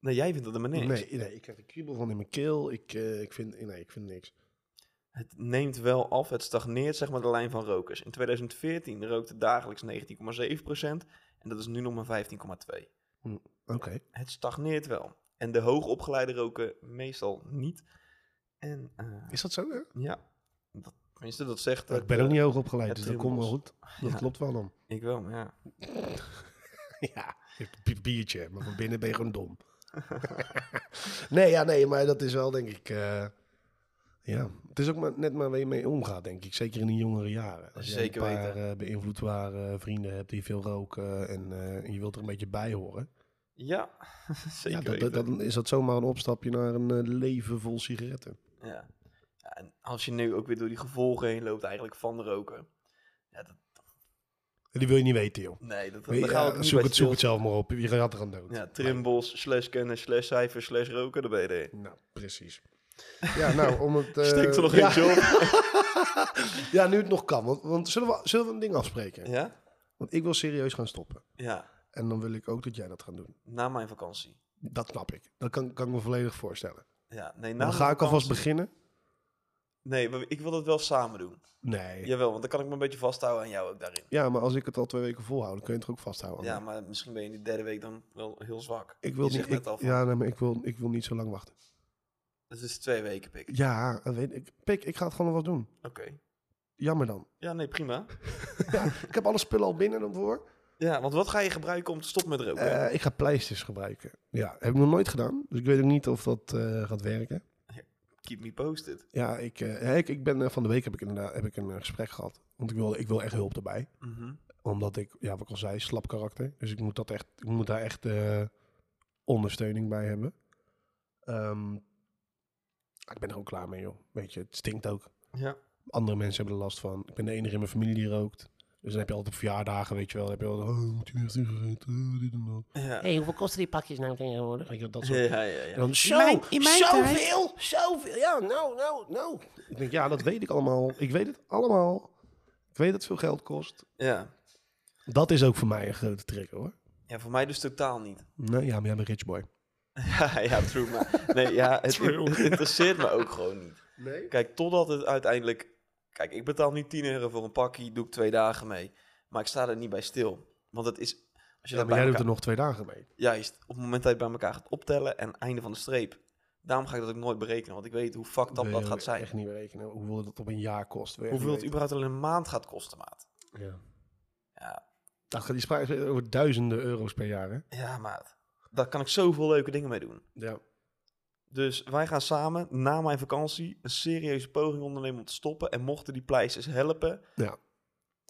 [SPEAKER 2] Nou, jij vindt dat helemaal niks.
[SPEAKER 1] Nee, nee, ik heb een kriebel van in mijn keel. Ik, eh, ik vind, nee, ik vind niks.
[SPEAKER 2] Het neemt wel af, het stagneert zeg maar de lijn van rokers. In 2014 rookte dagelijks 19,7% en dat is nu nog maar 15,2%.
[SPEAKER 1] Oké.
[SPEAKER 2] het stagneert wel. En de hoogopgeleide roken meestal niet. En eh,
[SPEAKER 1] Is dat zo? Hè?
[SPEAKER 2] ja, dat, tenminste, dat zegt.
[SPEAKER 1] Ik
[SPEAKER 2] het,
[SPEAKER 1] ben
[SPEAKER 2] eh,
[SPEAKER 1] ook niet hoog opgeleid,
[SPEAKER 2] het
[SPEAKER 1] dus dat komt wel goed. Dat
[SPEAKER 2] Ja.
[SPEAKER 1] klopt wel dan.
[SPEAKER 2] Ik wel, maar ja.
[SPEAKER 1] ja, je hebt een biertje, maar van binnen ben je gewoon dom. nee, ja, nee, maar dat is wel, denk ik... eh, ja, het is ook maar, net maar waar je mee omgaat, denk ik. Zeker in de jongere jaren. Als je een
[SPEAKER 2] Zeker
[SPEAKER 1] eh, paar eh, beïnvloedbare vrienden hebt die veel roken en, eh, en je wilt er een beetje bij horen.
[SPEAKER 2] Ja, zeker
[SPEAKER 1] ja, dat-
[SPEAKER 2] weten.
[SPEAKER 1] dat- dan is dat zomaar een opstapje naar een eh, leven vol sigaretten.
[SPEAKER 2] Ja. Ja, En als je nu ook weer door die gevolgen heen loopt eigenlijk van roken. Ja, dat,
[SPEAKER 1] En die wil je niet weten, joh.
[SPEAKER 2] nee, dat, dat
[SPEAKER 1] Ja,
[SPEAKER 2] gaan we ook niet
[SPEAKER 1] zoek,
[SPEAKER 2] bij
[SPEAKER 1] het, zoek het
[SPEAKER 2] stil-
[SPEAKER 1] zelf maar op. Je gaat er aan dood.
[SPEAKER 2] Ja, trimbos, slash kennen, slash cijfers, slash roken, daar ben je er.
[SPEAKER 1] Nou, precies. Ja, nou, om het... eh,
[SPEAKER 2] Steekt er nog
[SPEAKER 1] ja,
[SPEAKER 2] eentje op?
[SPEAKER 1] Ja, nu het nog kan. Want, want zullen, we, zullen we een ding afspreken?
[SPEAKER 2] Ja?
[SPEAKER 1] Want ik wil serieus gaan stoppen.
[SPEAKER 2] Ja,
[SPEAKER 1] En dan wil ik ook dat jij dat gaat doen.
[SPEAKER 2] na mijn vakantie.
[SPEAKER 1] Dat snap ik. Dat kan, kan ik me volledig
[SPEAKER 2] Nou,
[SPEAKER 1] voorstellen.
[SPEAKER 2] Ja, nee, na
[SPEAKER 1] Dan
[SPEAKER 2] mijn
[SPEAKER 1] ga ik alvast
[SPEAKER 2] vakantie-
[SPEAKER 1] beginnen.
[SPEAKER 2] Nee, maar ik wil het wel samen doen.
[SPEAKER 1] Nee. Ja.
[SPEAKER 2] Jawel, want dan kan ik me een beetje vasthouden aan jou ook daarin.
[SPEAKER 1] maar als ik het al twee weken volhoud, dan kun je het er ook vasthouden.
[SPEAKER 2] Ja, maar misschien ben je in die derde week dan wel heel zwak.
[SPEAKER 1] ik wil
[SPEAKER 2] je
[SPEAKER 1] niet,
[SPEAKER 2] zegt
[SPEAKER 1] ik,
[SPEAKER 2] net al van,
[SPEAKER 1] ja, nee, maar ik wil, ik wil niet zo lang wachten.
[SPEAKER 2] Het is twee weken, pik.
[SPEAKER 1] Ja, dat weet ik. Pik, ik ga het gewoon nog wat doen.
[SPEAKER 2] Oké.
[SPEAKER 1] Jammer dan.
[SPEAKER 2] Ja, nee, prima.
[SPEAKER 1] ja, ik heb alle spullen al binnen dan voor.
[SPEAKER 2] Ja, want wat ga je gebruiken om te stoppen met roken?
[SPEAKER 1] Eh, ik ga pleisters gebruiken. Ja, heb ik nog nooit gedaan. Dus ik weet ook niet of dat eh, gaat werken.
[SPEAKER 2] Keep me posted.
[SPEAKER 1] Ja, ik, eh, hè, ik, ik ben eh, van de week heb ik inderdaad heb ik een eh, gesprek gehad. Want ik wil, ik wil echt hulp erbij.
[SPEAKER 2] Mhm.
[SPEAKER 1] Omdat ik, ja, wat ik al zei, slap karakter. Dus ik moet, dat echt, ik moet daar echt eh, ondersteuning bij hebben. Ehm, ik ben er ook klaar mee, joh. Weet je, het stinkt ook.
[SPEAKER 2] Ja.
[SPEAKER 1] Andere mensen hebben er last van. Ik ben de enige in mijn familie die rookt. Dus dan heb je altijd op verjaardagen, weet je wel. Dan heb je altijd, oh, moet je weer sigaretten, oh, dit en dat.
[SPEAKER 2] Ja.
[SPEAKER 3] hey, hoeveel kosten die pakjes nou tegenwoordig?
[SPEAKER 1] Weet je wel, dat soort
[SPEAKER 2] Ja, ja, ja. ja.
[SPEAKER 1] En dan, zo,
[SPEAKER 3] mijn- in mijn
[SPEAKER 1] zoveel, zoveel. Ja, nou, nou, nou. Ik denk, ja, dat weet ik allemaal. Ik weet het allemaal. Ik weet dat het veel geld kost.
[SPEAKER 2] Ja.
[SPEAKER 1] Dat is ook voor mij een grote trigger, hoor.
[SPEAKER 2] Ja, voor mij dus totaal niet.
[SPEAKER 1] Nee, ja, maar jij bent rich boy.
[SPEAKER 2] Ja, ja, true. Maar nee, ja, het,
[SPEAKER 1] True.
[SPEAKER 2] het interesseert me ook gewoon niet.
[SPEAKER 1] Nee?
[SPEAKER 2] Kijk, totdat het uiteindelijk... Kijk, ik betaal nu 10 euro voor een pakje, doe ik twee dagen mee. Maar ik sta er niet bij stil. Want het is... Als je
[SPEAKER 1] Ja,
[SPEAKER 2] dat
[SPEAKER 1] maar jij
[SPEAKER 2] bij
[SPEAKER 1] doet er
[SPEAKER 2] elkaar,
[SPEAKER 1] nog twee dagen mee.
[SPEAKER 2] Juist, op het moment dat je het bij elkaar gaat optellen en einde van de streep. Daarom ga ik dat ook nooit berekenen, want ik weet hoe fucked up
[SPEAKER 1] Wil
[SPEAKER 2] dat
[SPEAKER 1] je
[SPEAKER 2] gaat zijn.
[SPEAKER 1] echt niet berekenen. Hoeveel dat op een jaar kost. wil je echt
[SPEAKER 2] Hoeveel het
[SPEAKER 1] niet
[SPEAKER 2] überhaupt al in een maand gaat kosten, maat.
[SPEAKER 1] weten. Ja.
[SPEAKER 2] Ja,
[SPEAKER 1] Dat gaat die spraak over duizenden euro's per jaar, hè?
[SPEAKER 2] ja maat. Daar kan ik zoveel leuke dingen mee doen.
[SPEAKER 1] Ja.
[SPEAKER 2] Dus wij gaan samen na mijn vakantie een serieuze poging ondernemen om te stoppen. En mochten die pleisters helpen.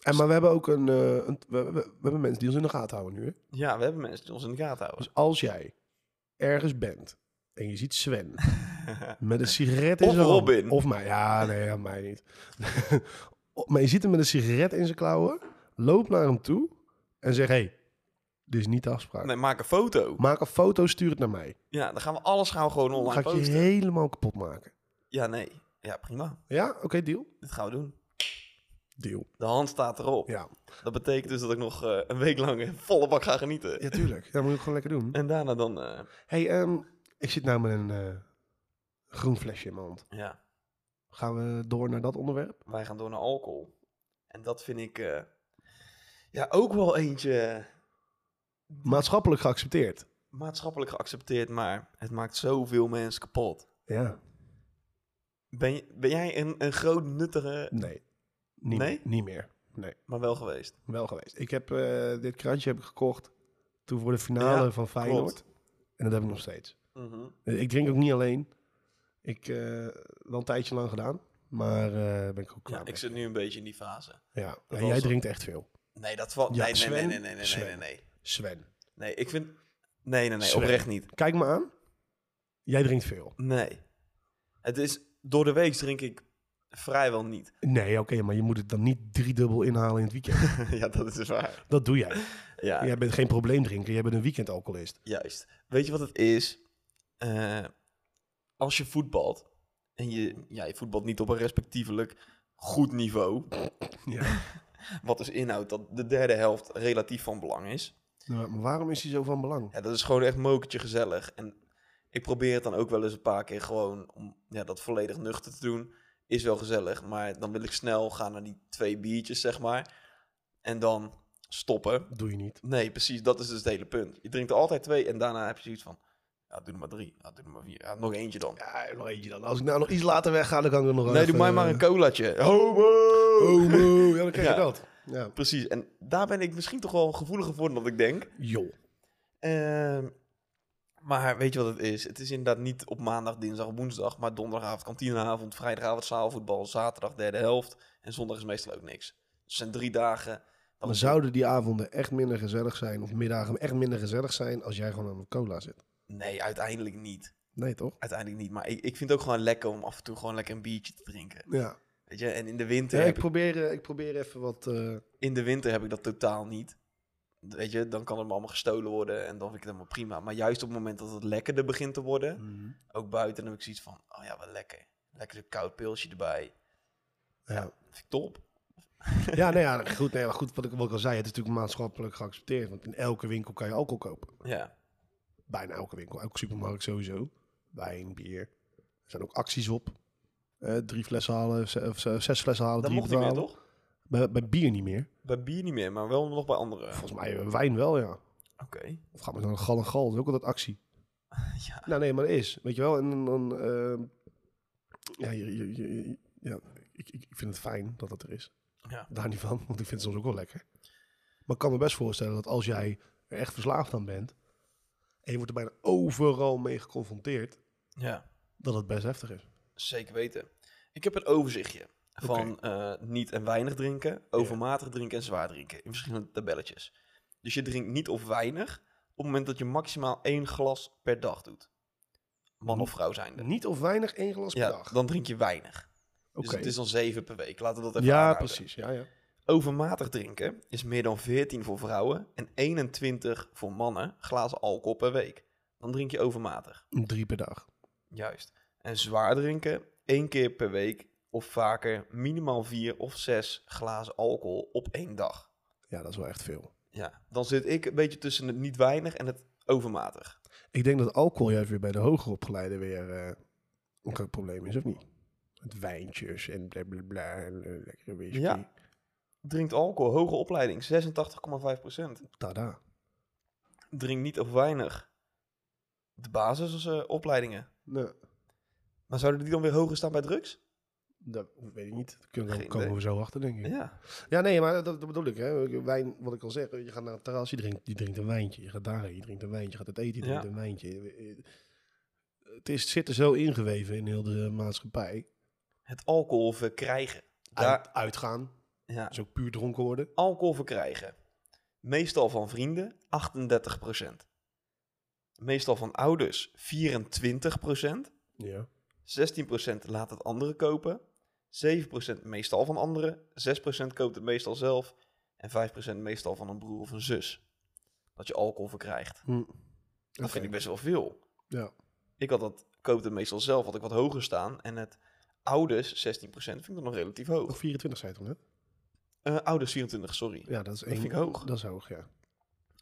[SPEAKER 1] En, maar we hebben ook een... eh, een- we, we- we hebben mensen die ons in de gaten houden nu, hè?
[SPEAKER 2] Ja, we hebben mensen die ons in de gaten houden.
[SPEAKER 1] Dus als jij ergens bent en je ziet Sven Met een sigaret in
[SPEAKER 2] Of
[SPEAKER 1] zijn hand.
[SPEAKER 2] Robin.
[SPEAKER 1] Of mij. Ja, nee, aan mij niet. maar je ziet hem met een sigaret in zijn klauwen. Loop naar hem toe en zeg: hey, dit is niet de afspraak.
[SPEAKER 2] nee, maak een foto.
[SPEAKER 1] Maak een foto, stuur het naar mij.
[SPEAKER 2] Ja, dan gaan we alles gaan we gewoon
[SPEAKER 1] Dan
[SPEAKER 2] online
[SPEAKER 1] ga ik je
[SPEAKER 2] posten.
[SPEAKER 1] helemaal kapot maken.
[SPEAKER 2] Ja, nee. Ja, prima.
[SPEAKER 1] Ja, oké, deal.
[SPEAKER 2] Dit gaan we doen.
[SPEAKER 1] Deal.
[SPEAKER 2] De hand staat erop.
[SPEAKER 1] Ja,
[SPEAKER 2] Dat betekent dus dat ik nog eh, een week lang eh, volle bak ga genieten.
[SPEAKER 1] ja tuurlijk. Dat moet je gewoon lekker doen.
[SPEAKER 2] En daarna dan, eh,
[SPEAKER 1] hey, ehm, ik zit nou met een eh, groen flesje in mijn hand.
[SPEAKER 2] ja,
[SPEAKER 1] Gaan we door naar dat onderwerp?
[SPEAKER 2] wij gaan door naar alcohol. En dat vind ik, eh, ja, ook wel eentje eh,
[SPEAKER 1] Maatschappelijk geaccepteerd.
[SPEAKER 2] maatschappelijk geaccepteerd, maar het maakt zoveel mensen kapot.
[SPEAKER 1] Ja.
[SPEAKER 2] Ben, je- ben jij een, een groot nuttige,
[SPEAKER 1] Nee. Niet,
[SPEAKER 2] Nee?
[SPEAKER 1] Niet meer.
[SPEAKER 2] maar wel geweest?
[SPEAKER 1] Wel geweest. Ik heb eh, dit krantje heb ik gekocht toen voor de finale
[SPEAKER 2] Ja,
[SPEAKER 1] van Feyenoord.
[SPEAKER 2] klopt.
[SPEAKER 1] En dat heb ik nog steeds.
[SPEAKER 2] Mhm.
[SPEAKER 1] Ik drink ook niet alleen. Ik eh wel een tijdje lang gedaan, maar eh, ben ik ook klaar
[SPEAKER 2] Ja,
[SPEAKER 1] mee.
[SPEAKER 2] ik zit nu een beetje in die fase.
[SPEAKER 1] Ja, en
[SPEAKER 2] was
[SPEAKER 1] jij
[SPEAKER 2] het.
[SPEAKER 1] drinkt echt veel.
[SPEAKER 2] Nee, dat valt.
[SPEAKER 1] Ja,
[SPEAKER 2] nee, nee, nee,
[SPEAKER 1] Sven?
[SPEAKER 2] nee, nee, nee, nee, nee,
[SPEAKER 1] Sven.
[SPEAKER 2] nee.
[SPEAKER 1] Sven,
[SPEAKER 2] Nee, ik vind. Nee, nee, nee,
[SPEAKER 1] Sven.
[SPEAKER 2] oprecht niet.
[SPEAKER 1] kijk me aan. Jij drinkt veel.
[SPEAKER 2] Nee. Het is. Door de week drink ik vrijwel niet.
[SPEAKER 1] Nee, oké, maar je moet het dan niet driedubbel inhalen in het weekend.
[SPEAKER 2] ja, dat is dus waar.
[SPEAKER 1] dat doe jij.
[SPEAKER 2] Ja,
[SPEAKER 1] Jij bent geen probleemdrinker, jij bent een weekendalcoholist.
[SPEAKER 2] juist. Weet je wat het is? Eh, als je voetbalt. En je, ja, je voetbalt niet op een respectievelijk goed niveau.
[SPEAKER 1] Ja.
[SPEAKER 2] Wat dus inhoudt dat de derde helft relatief van belang is.
[SPEAKER 1] Nou, maar waarom is hij zo van belang?
[SPEAKER 2] Ja, dat is gewoon echt mokertje gezellig. En ik probeer het dan ook wel eens een paar keer gewoon om ja, dat volledig nuchter te doen. Is wel gezellig, maar dan wil ik snel gaan naar die twee biertjes, zeg maar. En dan stoppen.
[SPEAKER 1] Dat doe je niet.
[SPEAKER 2] Nee, precies, dat is dus het hele punt. Je drinkt er altijd twee en daarna heb je zoiets van... Ja, doe er maar drie. Ja, doe er maar vier. Ja, nog eentje dan.
[SPEAKER 1] Ja, nog eentje dan. Als ik nou nog iets later wegga, dan kan ik er nog
[SPEAKER 2] nee, doe
[SPEAKER 1] even- eh,
[SPEAKER 2] mij maar een colaatje. Homo!
[SPEAKER 1] Homo. Ja, dan krijg je
[SPEAKER 2] Ja.
[SPEAKER 1] dat. Ja.
[SPEAKER 2] Precies, en daar ben ik misschien toch wel gevoeliger voor dan ik denk.
[SPEAKER 1] Joh.
[SPEAKER 2] Ehm, maar weet je wat het is? Het is inderdaad niet op maandag, dinsdag, woensdag, maar donderdagavond, kantineavond, vrijdagavond, zaalvoetbal, zaterdag, derde helft. En zondag is meestal ook niks. Dus het zijn drie dagen
[SPEAKER 1] Maar zouden die avonden echt minder gezellig zijn, of middagen echt minder gezellig zijn, als jij gewoon aan een cola zit?
[SPEAKER 2] Nee, uiteindelijk niet.
[SPEAKER 1] Nee, toch?
[SPEAKER 2] Uiteindelijk niet. Maar ik, ik vind het ook gewoon lekker om af en toe gewoon lekker een biertje te drinken.
[SPEAKER 1] Ja.
[SPEAKER 2] Weet je, en in de winter,
[SPEAKER 1] ja ik,
[SPEAKER 2] heb, ik,
[SPEAKER 1] probeer, eh, ik probeer even wat... eh,
[SPEAKER 2] in de winter heb ik dat totaal niet. Weet je, dan kan het me allemaal gestolen worden en dan vind ik het helemaal prima. Maar juist op het moment dat het lekkerder begint te worden, ook buiten, dan heb ik zoiets van, oh ja, wat lekker. Lekker een koud pilsje erbij. Ja,
[SPEAKER 1] ja.
[SPEAKER 2] vind ik top.
[SPEAKER 1] Ja, nee, ja, goed, nee, maar goed, wat ik ook al zei, het is natuurlijk maatschappelijk geaccepteerd. Want in elke winkel kan je alcohol kopen.
[SPEAKER 2] Ja,
[SPEAKER 1] Bijna elke winkel, elke supermarkt sowieso. Wijn, bier. Er zijn ook acties op. Eh, drie flessen halen, ze- of ze- zes flessen halen,
[SPEAKER 2] dat
[SPEAKER 1] drie
[SPEAKER 2] mocht niet meer,
[SPEAKER 1] betalen.
[SPEAKER 2] toch?
[SPEAKER 1] Bij, bij bier niet meer.
[SPEAKER 2] Bij bier niet meer, maar wel nog bij andere. Oké.
[SPEAKER 1] Volgens mij eh, wijn wel, ja. Of gaat maar naar een gal en gal, dat is ook altijd actie.
[SPEAKER 2] Ja.
[SPEAKER 1] Nou nee, maar dat is, weet je wel. En dan, ehm, ja, je- je- je- je- ja ik, ik ik vind het fijn dat dat er is.
[SPEAKER 2] Ja.
[SPEAKER 1] Daar niet van, want ik vind het soms ook wel lekker. Maar ik kan me best voorstellen dat als jij er echt verslaafd aan bent... en je wordt er bijna overal mee geconfronteerd,
[SPEAKER 2] Ja.
[SPEAKER 1] dat het best heftig is.
[SPEAKER 2] Zeker weten. Ik heb een overzichtje van eh, niet en weinig drinken, overmatig drinken en zwaar drinken in verschillende tabelletjes. Dus je drinkt niet of weinig op het moment dat je maximaal één glas per dag doet. Man of vrouw zijnde.
[SPEAKER 1] Niet of weinig één glas per
[SPEAKER 2] Ja,
[SPEAKER 1] dag.
[SPEAKER 2] dan drink je weinig.
[SPEAKER 1] Oké.
[SPEAKER 2] Dus het is dan zeven per week. Laten we dat even
[SPEAKER 1] ja,
[SPEAKER 2] aanhouden.
[SPEAKER 1] precies. Ja, ja.
[SPEAKER 2] Overmatig drinken is meer dan 14 voor vrouwen en 21 voor mannen glazen alcohol per week. Dan drink je overmatig.
[SPEAKER 1] Drie per dag.
[SPEAKER 2] Juist. En zwaar drinken, één keer per week of vaker minimaal vier of zes glazen alcohol op één dag.
[SPEAKER 1] Ja, dat is wel echt veel.
[SPEAKER 2] Ja, dan zit ik een beetje tussen het niet weinig en het overmatig.
[SPEAKER 1] Ik denk dat alcohol juist weer bij de hoger opgeleiden weer eh, een groot probleem is, of niet? Met wijntjes en blablabla en eh, lekkere whisky.
[SPEAKER 2] Ja. Drinkt alcohol, hoge opleiding, 86,5%.
[SPEAKER 1] Tada.
[SPEAKER 2] Drinkt niet of weinig. De basisopleidingen.
[SPEAKER 1] Nou,
[SPEAKER 2] maar zouden die dan weer hoger staan bij drugs?
[SPEAKER 1] dat weet ik niet. Daar kunnen we
[SPEAKER 2] Geen
[SPEAKER 1] komen
[SPEAKER 2] idee.
[SPEAKER 1] we zo achter, denk ik.
[SPEAKER 2] Ja.
[SPEAKER 1] Ja, nee, maar dat, dat bedoel ik. Hè. Wijn, wat ik al zeg, je gaat naar het terras, je drinkt, je drinkt een wijntje. Je gaat daarheen, je drinkt een wijntje. Je gaat het eten, je drinkt
[SPEAKER 2] Ja.
[SPEAKER 1] een wijntje. Het, is, het zit er zo ingeweven in heel de maatschappij.
[SPEAKER 2] Het alcohol verkrijgen. Daar,
[SPEAKER 1] Uit, uitgaan,
[SPEAKER 2] ja.
[SPEAKER 1] dus ook puur dronken worden.
[SPEAKER 2] alcohol verkrijgen. Meestal van vrienden 38%. Meestal van ouders 24%.
[SPEAKER 1] Ja.
[SPEAKER 2] 16% laat het anderen kopen. 7% meestal van anderen. 6% koopt het meestal zelf. En 5% meestal van een broer of een zus. Dat je alcohol verkrijgt. Dat
[SPEAKER 1] Hm. Oké.
[SPEAKER 2] vind ik best wel veel.
[SPEAKER 1] Ja.
[SPEAKER 2] Ik had dat koopt het meestal zelf, had ik wat hoger staan. En het ouders 16% vind ik dan nog relatief
[SPEAKER 1] Of
[SPEAKER 2] hoog.
[SPEAKER 1] 24 zei je toen, hè?
[SPEAKER 2] Eh, ouders 24, sorry.
[SPEAKER 1] Ja, dat is
[SPEAKER 2] één- vind ik hoog.
[SPEAKER 1] Dat is hoog, ja.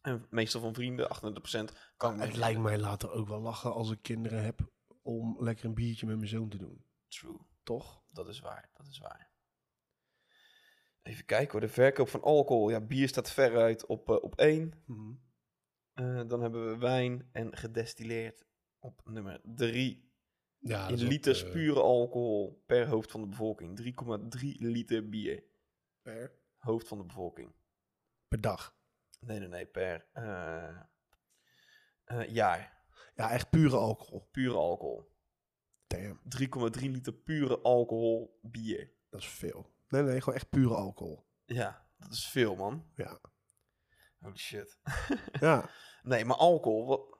[SPEAKER 2] En meestal van vrienden 38% kan ik me
[SPEAKER 1] Het
[SPEAKER 2] niet
[SPEAKER 1] lijkt mij later ook wel lachen als ik kinderen heb om lekker een biertje met mijn zoon te doen.
[SPEAKER 2] True,
[SPEAKER 1] Toch?
[SPEAKER 2] dat is waar, dat is waar. Even kijken hoor, de verkoop van alcohol. Ja, bier staat veruit op, eh, op 1. dan hebben we wijn en gedestilleerd op nummer 3.
[SPEAKER 1] Ja,
[SPEAKER 2] In
[SPEAKER 1] dat is ook,
[SPEAKER 2] liters
[SPEAKER 1] eh,
[SPEAKER 2] pure alcohol per hoofd van de bevolking. 3,3 liter bier,
[SPEAKER 1] Per,
[SPEAKER 2] hoofd van de bevolking.
[SPEAKER 1] per dag.
[SPEAKER 2] Nee, nee, nee, per eh, eh, jaar.
[SPEAKER 1] Ja, echt pure alcohol.
[SPEAKER 2] Pure alcohol.
[SPEAKER 1] Damn,
[SPEAKER 2] 3,3 liter pure alcohol bier.
[SPEAKER 1] dat is veel. Nee, nee, gewoon echt pure alcohol.
[SPEAKER 2] Ja, dat is veel man.
[SPEAKER 1] Ja.
[SPEAKER 2] Holy shit.
[SPEAKER 1] Ja,
[SPEAKER 2] Nee, maar alcohol, wat,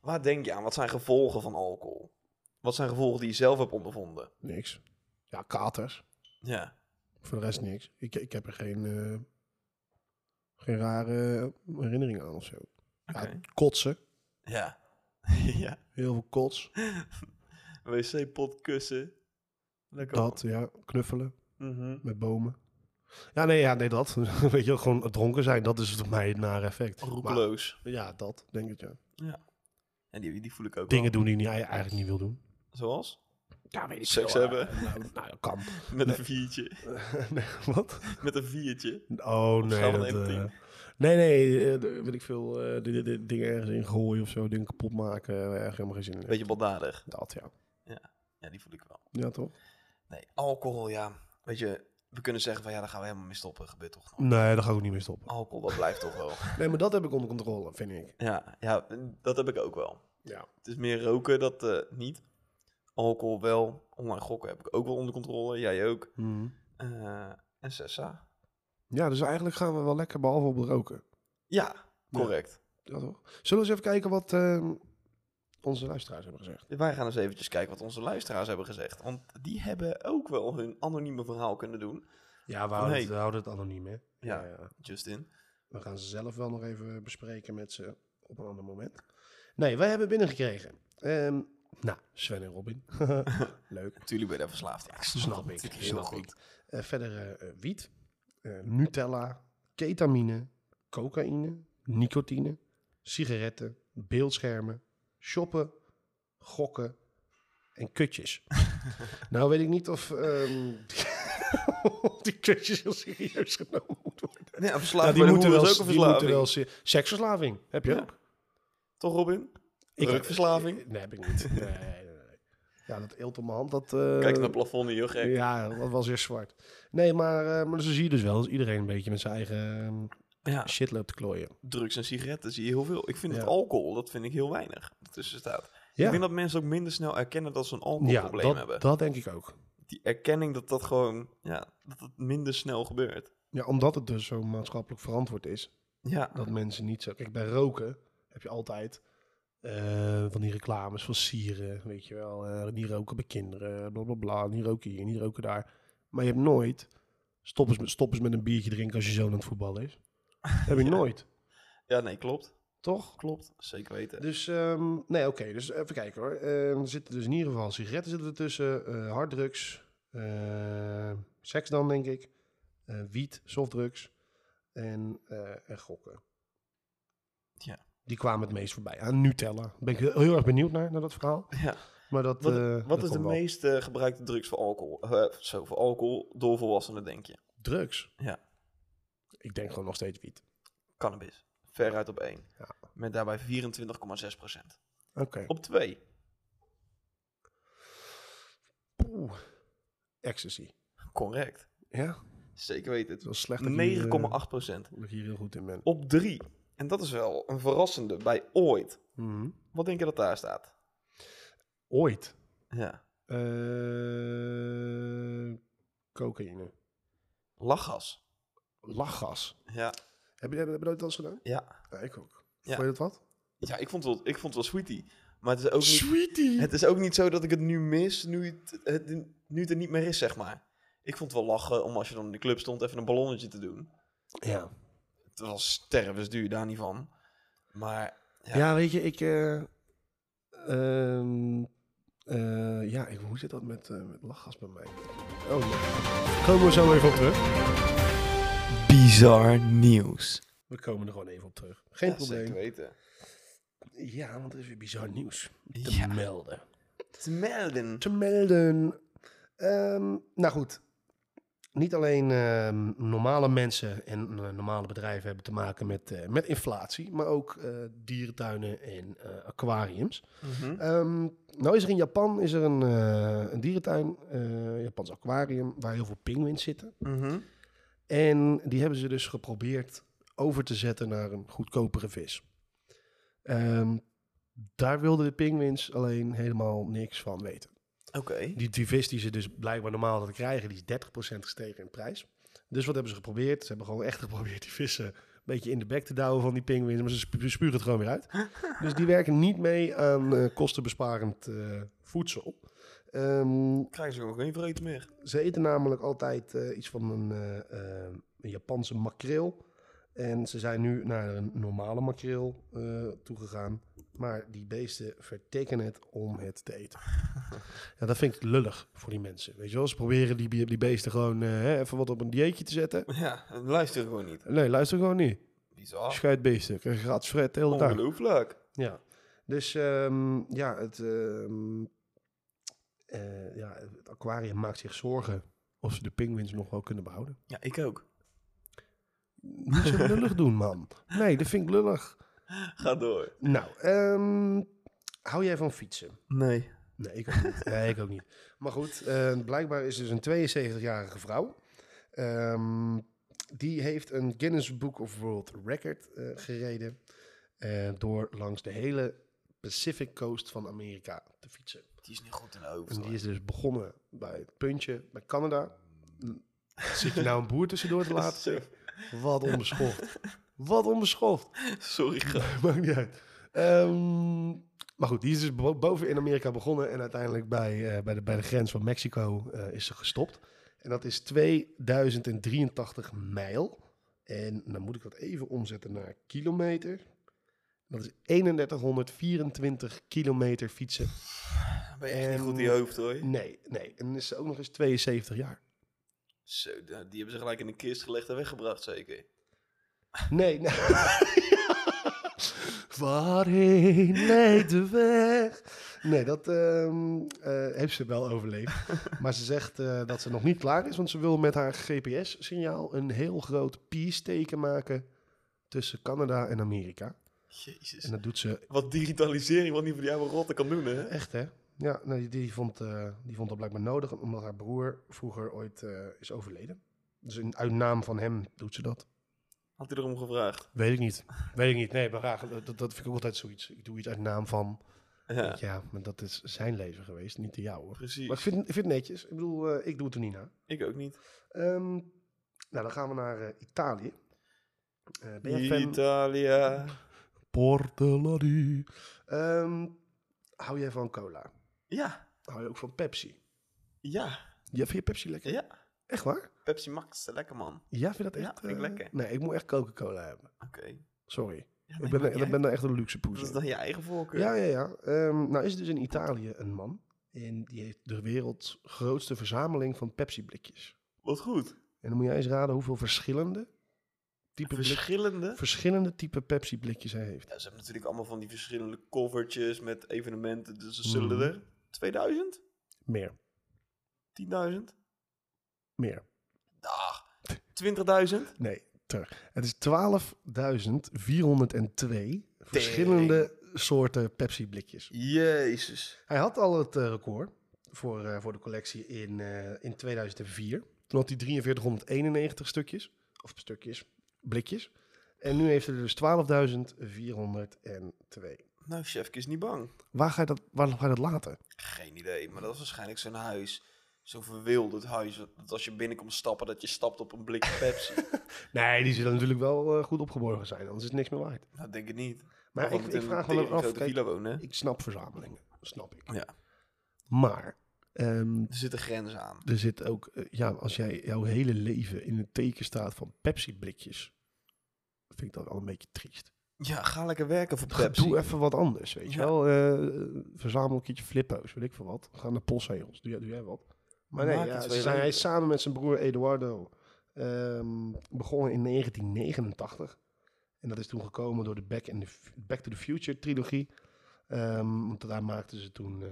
[SPEAKER 2] waar denk je aan? Wat zijn gevolgen van alcohol? Wat zijn gevolgen die je zelf hebt ondervonden?
[SPEAKER 1] niks. Ja, katers.
[SPEAKER 2] Ja,
[SPEAKER 1] Voor de rest niks. Ik, ik heb er geen, eh, geen rare herinneringen aan of zo. Ja,
[SPEAKER 2] Oké.
[SPEAKER 1] kotsen.
[SPEAKER 2] ja. ja.
[SPEAKER 1] Heel veel kots.
[SPEAKER 2] Wc-pot, kussen. Lekker.
[SPEAKER 1] Dat, ja. Knuffelen.
[SPEAKER 2] man. Mhm.
[SPEAKER 1] Met bomen. Ja, nee, ja, nee, dat. Weet je wel, gewoon dronken zijn, dat is voor mij het nare effect. Maar-
[SPEAKER 2] Roekeloos.
[SPEAKER 1] ja, dat, denk ik, ja.
[SPEAKER 2] En die, die voel ik ook
[SPEAKER 1] Dingen
[SPEAKER 2] wel.
[SPEAKER 1] doen die je niet- eigenlijk niet wil doen.
[SPEAKER 2] Zoals?
[SPEAKER 1] Ja, weet ik
[SPEAKER 2] Seks
[SPEAKER 1] veel,
[SPEAKER 2] hebben.
[SPEAKER 1] eh, Nou, nou, dat kan.
[SPEAKER 2] Met een viertje.
[SPEAKER 1] nee, wat?
[SPEAKER 2] Met een viertje.
[SPEAKER 1] Oh, nee.
[SPEAKER 2] schaal van
[SPEAKER 1] Dat,
[SPEAKER 2] één
[SPEAKER 1] eh,
[SPEAKER 2] tot tien.
[SPEAKER 1] nee, nee, eh, d- weet ik veel. eh, di- di- di- dingen ergens in gooien of zo, dingen kapot maken. eh, Erg helemaal geen zin in.
[SPEAKER 2] Beetje baldadig.
[SPEAKER 1] Dat, ja.
[SPEAKER 2] Ja, die voel ik wel.
[SPEAKER 1] Ja, toch?
[SPEAKER 2] Nee, alcohol, ja. Weet je, we kunnen zeggen van ja, daar gaan we helemaal mee stoppen. Gebeurt toch nog.
[SPEAKER 1] Nee, daar ga ik ook niet mee stoppen.
[SPEAKER 2] Alcohol, dat blijft toch wel.
[SPEAKER 1] Nee, maar dat heb ik onder controle, vind ik.
[SPEAKER 2] Ja, ja, dat heb ik ook wel.
[SPEAKER 1] Ja.
[SPEAKER 2] Het is meer roken, dat eh, niet. Alcohol
[SPEAKER 1] Hmm.
[SPEAKER 2] wel. Online gokken heb ik ook wel onder controle. Jij ook.
[SPEAKER 1] Mhm.
[SPEAKER 2] Eh, en Sessa.
[SPEAKER 1] Ja, dus eigenlijk gaan we wel lekker behalve op het roken.
[SPEAKER 2] Ja, correct.
[SPEAKER 1] Ja, toch? Zullen we eens even kijken wat ehm, onze luisteraars hebben gezegd?
[SPEAKER 2] Wij gaan eens eventjes kijken wat onze luisteraars hebben gezegd. Want die hebben ook wel hun anonieme verhaal kunnen doen.
[SPEAKER 1] Ja, we
[SPEAKER 2] houden het-
[SPEAKER 1] anoniem, hè?
[SPEAKER 2] Ja. Justin.
[SPEAKER 1] We gaan ze zelf wel nog even bespreken met ze op een ander moment. Nee, wij hebben binnengekregen. Ehm nou, Sven en Robin. Leuk.
[SPEAKER 2] Natuurlijk ben je daar verslaafd. Ja,
[SPEAKER 1] Snap ik.
[SPEAKER 2] Heel
[SPEAKER 1] Snap
[SPEAKER 2] goed.
[SPEAKER 1] ik. Eh, verder eh, eh, wiet, eh, Nutella, ketamine, cocaïne, nicotine, sigaretten, beeldschermen, shoppen, gokken en kutjes. nou weet ik niet of ehm, die, kutjes heel serieus genomen moeten worden.
[SPEAKER 2] Ja,
[SPEAKER 1] Ja,
[SPEAKER 2] verslaafd. die moeten wel, ook een
[SPEAKER 1] die moeten
[SPEAKER 2] verslaving.
[SPEAKER 1] wel se- seksverslaving heb je
[SPEAKER 2] Ja.
[SPEAKER 1] ook.
[SPEAKER 2] Toch, Robin?
[SPEAKER 1] Ik-
[SPEAKER 2] Drugverslaving?
[SPEAKER 1] Nee, heb ik niet. Nee, nee, nee, nee. Ja, dat eelt op mijn hand. Dat, eh,
[SPEAKER 2] Kijk naar het plafond hier, gek.
[SPEAKER 1] ja, dat was weer zwart. Nee, maar, eh, maar zo zie je dus wel dat iedereen een beetje met zijn eigen eh,
[SPEAKER 2] Ja,
[SPEAKER 1] shit loopt te klooien.
[SPEAKER 2] drugs en sigaretten zie je heel veel. Ik vind
[SPEAKER 1] Ja.
[SPEAKER 2] het alcohol, dat vind ik heel weinig. dat Tussen staat. Ik
[SPEAKER 1] Ja,
[SPEAKER 2] denk dat mensen ook minder snel erkennen dat ze een
[SPEAKER 1] ja
[SPEAKER 2] alcoholprobleem
[SPEAKER 1] dat,
[SPEAKER 2] hebben.
[SPEAKER 1] dat denk ik ook.
[SPEAKER 2] Die erkenning dat dat gewoon, ja, dat het minder snel gebeurt.
[SPEAKER 1] Ja, omdat het dus zo maatschappelijk verantwoord is.
[SPEAKER 2] Ja,
[SPEAKER 1] Dat mensen niet zo... Kijk, bij roken heb je altijd eh, van die reclames van sieren, weet je wel. eh, niet roken bij kinderen, bla bla bla. Niet roken hier, niet roken daar. Maar je hebt nooit... Stop eens met, stop eens met een biertje drinken als je zo aan het voetballen is. Dat heb je nooit,
[SPEAKER 2] ja nee, klopt.
[SPEAKER 1] toch?
[SPEAKER 2] Klopt, zeker weten.
[SPEAKER 1] Dus, ehm, nee, oké. dus even kijken hoor. Ehm, er zitten dus in ieder geval sigaretten zitten er tussen, eh, harddrugs, eh, seks dan denk ik, eh, wiet, softdrugs en, eh, en gokken.
[SPEAKER 2] Ja.
[SPEAKER 1] Die kwamen het meest voorbij. Aan Nutella. Daar ben ik heel, heel erg benieuwd naar, naar dat verhaal.
[SPEAKER 2] Ja.
[SPEAKER 1] Maar dat,
[SPEAKER 2] Wat,
[SPEAKER 1] eh, dat
[SPEAKER 2] wat is de
[SPEAKER 1] komt wel.
[SPEAKER 2] meest eh, gebruikte drugs voor alcohol? Eh, zo, voor alcohol door volwassenen, denk je?
[SPEAKER 1] Drugs?
[SPEAKER 2] Ja.
[SPEAKER 1] Ik denk gewoon nog steeds wiet.
[SPEAKER 2] Cannabis. Veruit op één.
[SPEAKER 1] Ja.
[SPEAKER 2] Met daarbij 24,6
[SPEAKER 1] Oké.
[SPEAKER 2] Op twee.
[SPEAKER 1] Oeh. Ecstasy.
[SPEAKER 2] Correct.
[SPEAKER 1] Ja,
[SPEAKER 2] Zeker weten.
[SPEAKER 1] het was slecht dat ik hier, eh,
[SPEAKER 2] 9,8
[SPEAKER 1] dat ik hier heel goed in ben.
[SPEAKER 2] Op drie. En dat is wel een verrassende bij ooit.
[SPEAKER 1] Mhm.
[SPEAKER 2] Wat denk je dat daar staat?
[SPEAKER 1] Ooit.
[SPEAKER 2] Ja.
[SPEAKER 1] Eh, cocaïne.
[SPEAKER 2] Lachgas.
[SPEAKER 1] Lachgas.
[SPEAKER 2] Ja.
[SPEAKER 1] Heb je, heb je dat eens gedaan?
[SPEAKER 2] Ja.
[SPEAKER 1] Ja, ik ook.
[SPEAKER 2] Ja.
[SPEAKER 1] Vond je dat wat?
[SPEAKER 2] Ja, ik vond het wel, ik vond het wel sweetie. Maar het is ook niet...
[SPEAKER 1] Sweetie!
[SPEAKER 2] Het is ook niet zo dat ik het nu mis, nu het, het- nu het er niet meer is, zeg maar. Ik vond het wel lachen om als je dan in de club stond even een ballonnetje te doen.
[SPEAKER 1] ja.
[SPEAKER 2] Het was stervensduur, daar niet van. Maar
[SPEAKER 1] Ja. weet je, ik... eh, ehm, eh, ja, ik- hoe zit dat met, eh, met lachgas bij mij? Oh, nee. Komen we zo even op terug?
[SPEAKER 2] bizar nieuws.
[SPEAKER 1] We komen er gewoon even op terug. Geen probleem.
[SPEAKER 2] Zeker weten.
[SPEAKER 1] Ja, want er is weer bizar nieuws te
[SPEAKER 2] Ja.
[SPEAKER 1] melden.
[SPEAKER 2] Te melden.
[SPEAKER 1] te melden. Ehm, nou goed, niet alleen ehm, normale mensen en eh, normale bedrijven hebben te maken met, eh, met inflatie, maar ook eh, dierentuinen en eh, aquariums.
[SPEAKER 2] Mhm.
[SPEAKER 1] Ehm, nou is er in Japan is er een, eh, een dierentuin, eh Japans aquarium, waar heel veel pinguïns zitten.
[SPEAKER 2] Mhm.
[SPEAKER 1] En die hebben ze dus geprobeerd over te zetten naar een goedkopere vis. Ehm, daar wilden de pinguïns alleen helemaal niks van weten.
[SPEAKER 2] Oké.
[SPEAKER 1] Die, die vis die ze dus blijkbaar normaal hadden krijgen, die is 30% gestegen in prijs. Dus wat hebben ze geprobeerd? Ze hebben gewoon echt geprobeerd die vissen een beetje in de bek te douwen van die pinguïns, maar ze spu- spuren het gewoon weer uit. Dus die werken niet mee aan eh, kostenbesparend eh, voedsel. Ehm,
[SPEAKER 2] Krijgen ze gewoon geen vreten meer.
[SPEAKER 1] ze eten namelijk altijd eh, iets van een, eh, eh, een Japanse makreel. En ze zijn nu naar een normale makreel eh, toegegaan. Maar die beesten vertikken het om het te eten. ja, dat vind ik lullig voor die mensen. Weet je wel, ze proberen die, die beesten gewoon eh, hè, even wat op een dieetje te zetten.
[SPEAKER 2] Ja, luisteren gewoon niet.
[SPEAKER 1] Nee, luister gewoon niet.
[SPEAKER 2] Bizar.
[SPEAKER 1] Schuitbeesten, krijg je gratis fret de hele dag.
[SPEAKER 2] Ongelooflijk.
[SPEAKER 1] Ah. Oh, Ja, dus ehm, ja, het, ehm, eh, ja, het aquarium maakt zich zorgen of ze de pinguïns nog wel kunnen behouden.
[SPEAKER 2] Ja, ik ook.
[SPEAKER 1] Niet zo lullig doen, man. Nee, dat vind ik lullig.
[SPEAKER 2] Ga door.
[SPEAKER 1] Nou, ehm, hou jij van fietsen?
[SPEAKER 2] Nee.
[SPEAKER 1] Nee, ik ook niet. Nee, ik ook niet. Maar goed, eh, blijkbaar is dus een 72-jarige vrouw. Ehm, die heeft een Guinness Book of World Record eh, gereden. eh, door langs de hele Pacific Coast van Amerika te fietsen.
[SPEAKER 2] Die is niet goed in de
[SPEAKER 1] En
[SPEAKER 2] hoofd.
[SPEAKER 1] die is dus begonnen bij het puntje bij Canada. Zit je nou een boer tussendoor te laten?
[SPEAKER 2] Zo.
[SPEAKER 1] Wat onbeschoft. Wat onbeschoft.
[SPEAKER 2] Sorry, grap.
[SPEAKER 1] Maakt niet uit. Ehm, maar goed, die is dus bo- boven in Amerika begonnen en uiteindelijk bij, eh, bij, de, bij de grens van Mexico eh, is ze gestopt. En dat is 2083 mijl. En dan moet ik dat even omzetten naar kilometer. Dat is 3124 kilometer fietsen.
[SPEAKER 2] ben je echt niet
[SPEAKER 1] En-
[SPEAKER 2] goed in je hoofd hoor.
[SPEAKER 1] Nee, nee. En dan is ze ook nog eens 72 jaar.
[SPEAKER 2] Zo, nou, die hebben ze gelijk in een kist gelegd en weggebracht zeker.
[SPEAKER 1] Nee, nee. Waarheen leidt de weg? Nee, dat ehm, eh, heeft ze wel overleefd. Maar ze zegt eh, dat ze nog niet klaar is, want ze wil met haar GPS-signaal een heel groot peace-teken maken tussen Canada en Amerika.
[SPEAKER 2] Jezus.
[SPEAKER 1] En dat doet ze
[SPEAKER 2] Wat digitalisering, wat niet voor jou een rotte kan doen, hè?
[SPEAKER 1] echt, hè? Ja, nou, die, die, vond, eh, die vond dat blijkbaar nodig, omdat haar broer vroeger ooit eh, is overleden. Dus in, uit naam van hem doet ze dat.
[SPEAKER 2] Had hij erom gevraagd.
[SPEAKER 1] Weet ik niet. Weet ik niet. Nee, maar graag. Dat, dat vind ik ook altijd zoiets. Ik doe iets uit naam van.
[SPEAKER 2] Ja,
[SPEAKER 1] Ja, maar dat is zijn leven geweest, niet de jouwe. Maar ik
[SPEAKER 2] precies.
[SPEAKER 1] vind, ik vind het netjes. Ik bedoel, eh, ik doe het er niet na.
[SPEAKER 2] Ik ook niet.
[SPEAKER 1] Ehm, nou, dan gaan we naar eh, Italië. Eh ben jij fan?
[SPEAKER 2] Italia.
[SPEAKER 1] Portolani. Ehm, hou jij van cola?
[SPEAKER 2] Ja,
[SPEAKER 1] Hou je ook van Pepsi?
[SPEAKER 2] ja,
[SPEAKER 1] Ja, vind je Pepsi lekker?
[SPEAKER 2] ja.
[SPEAKER 1] Echt waar?
[SPEAKER 2] Pepsi Max, lekker man.
[SPEAKER 1] Ja, vind je dat
[SPEAKER 2] Ja,
[SPEAKER 1] echt?
[SPEAKER 2] vind ik
[SPEAKER 1] eh,
[SPEAKER 2] lekker.
[SPEAKER 1] Nee, ik moet echt Coca-Cola hebben.
[SPEAKER 2] Oké.
[SPEAKER 1] Sorry.
[SPEAKER 2] Ja,
[SPEAKER 1] ik
[SPEAKER 2] nee,
[SPEAKER 1] ben,
[SPEAKER 2] maakt
[SPEAKER 1] ik
[SPEAKER 2] niet
[SPEAKER 1] ben
[SPEAKER 2] uit.
[SPEAKER 1] daar echt een luxe poes
[SPEAKER 2] Dat is
[SPEAKER 1] in.
[SPEAKER 2] dan je eigen voorkeur.
[SPEAKER 1] Ja, ja, ja. Ehm, nou is er dus in Italië een man. En die heeft de werelds grootste verzameling van Pepsi-blikjes.
[SPEAKER 2] Wat goed.
[SPEAKER 1] En dan moet jij eens raden hoeveel verschillende type, blik-
[SPEAKER 2] Verschillende.
[SPEAKER 1] verschillende type Pepsi-blikjes hij heeft.
[SPEAKER 2] Ja, ze hebben natuurlijk allemaal van die verschillende covertjes met evenementen. Dus ze zullen
[SPEAKER 1] Mhm.
[SPEAKER 2] er 2000?
[SPEAKER 1] Meer,
[SPEAKER 2] 10.000?
[SPEAKER 1] meer.
[SPEAKER 2] Dag. 20.000?
[SPEAKER 1] Nee, terug. Het is 12.402 verschillende soorten Pepsi-blikjes.
[SPEAKER 2] Jezus.
[SPEAKER 1] Hij had al het eh, record voor, eh, voor de collectie in, eh, in 2004. Toen had hij 4391 stukjes, of stukjes, blikjes. En nu heeft hij er dus 12.402.
[SPEAKER 2] Nou, Chefke is niet bang.
[SPEAKER 1] Waar ga, je dat, waar ga je dat laten?
[SPEAKER 2] Geen idee, maar dat is waarschijnlijk zo'n huis. Zo'n verwilderd huis. Dat als je binnenkomt stappen, dat je stapt op een blikje Pepsi.
[SPEAKER 1] Nee, die zullen natuurlijk wel eh, goed opgeborgen zijn, anders is het niks meer waard.
[SPEAKER 2] nou, denk ik niet.
[SPEAKER 1] Maar ik, ik vraag me
[SPEAKER 2] wel
[SPEAKER 1] dan af,
[SPEAKER 2] grote
[SPEAKER 1] kijk,
[SPEAKER 2] villa wonen, hè?
[SPEAKER 1] ik snap verzamelingen, snap ik.
[SPEAKER 2] Ja.
[SPEAKER 1] Maar ehm,
[SPEAKER 2] Er zit een grens aan.
[SPEAKER 1] er zit ook, eh, ja, als jij jouw hele leven in het teken staat van Pepsi-blikjes, vind ik dat al een beetje triest.
[SPEAKER 2] Ja, ga lekker werken voor
[SPEAKER 1] Ga-
[SPEAKER 2] Pepsi.
[SPEAKER 1] Doe even wat anders, weet je
[SPEAKER 2] Ja.
[SPEAKER 1] wel. Eh, verzamel een keertje flippo's, weet ik veel wat. Ga naar postzegels, doe, jij- doe jij wat. Maar nee,
[SPEAKER 2] Maak
[SPEAKER 1] ja,
[SPEAKER 2] het
[SPEAKER 1] ze
[SPEAKER 2] weer
[SPEAKER 1] zijn, hij
[SPEAKER 2] leuk.
[SPEAKER 1] is samen met zijn broer Eduardo ehm, begonnen in 1989. En dat is toen gekomen door de Back, in the, F- Back to the Future trilogie. Ehm, want daar maakten ze toen eh,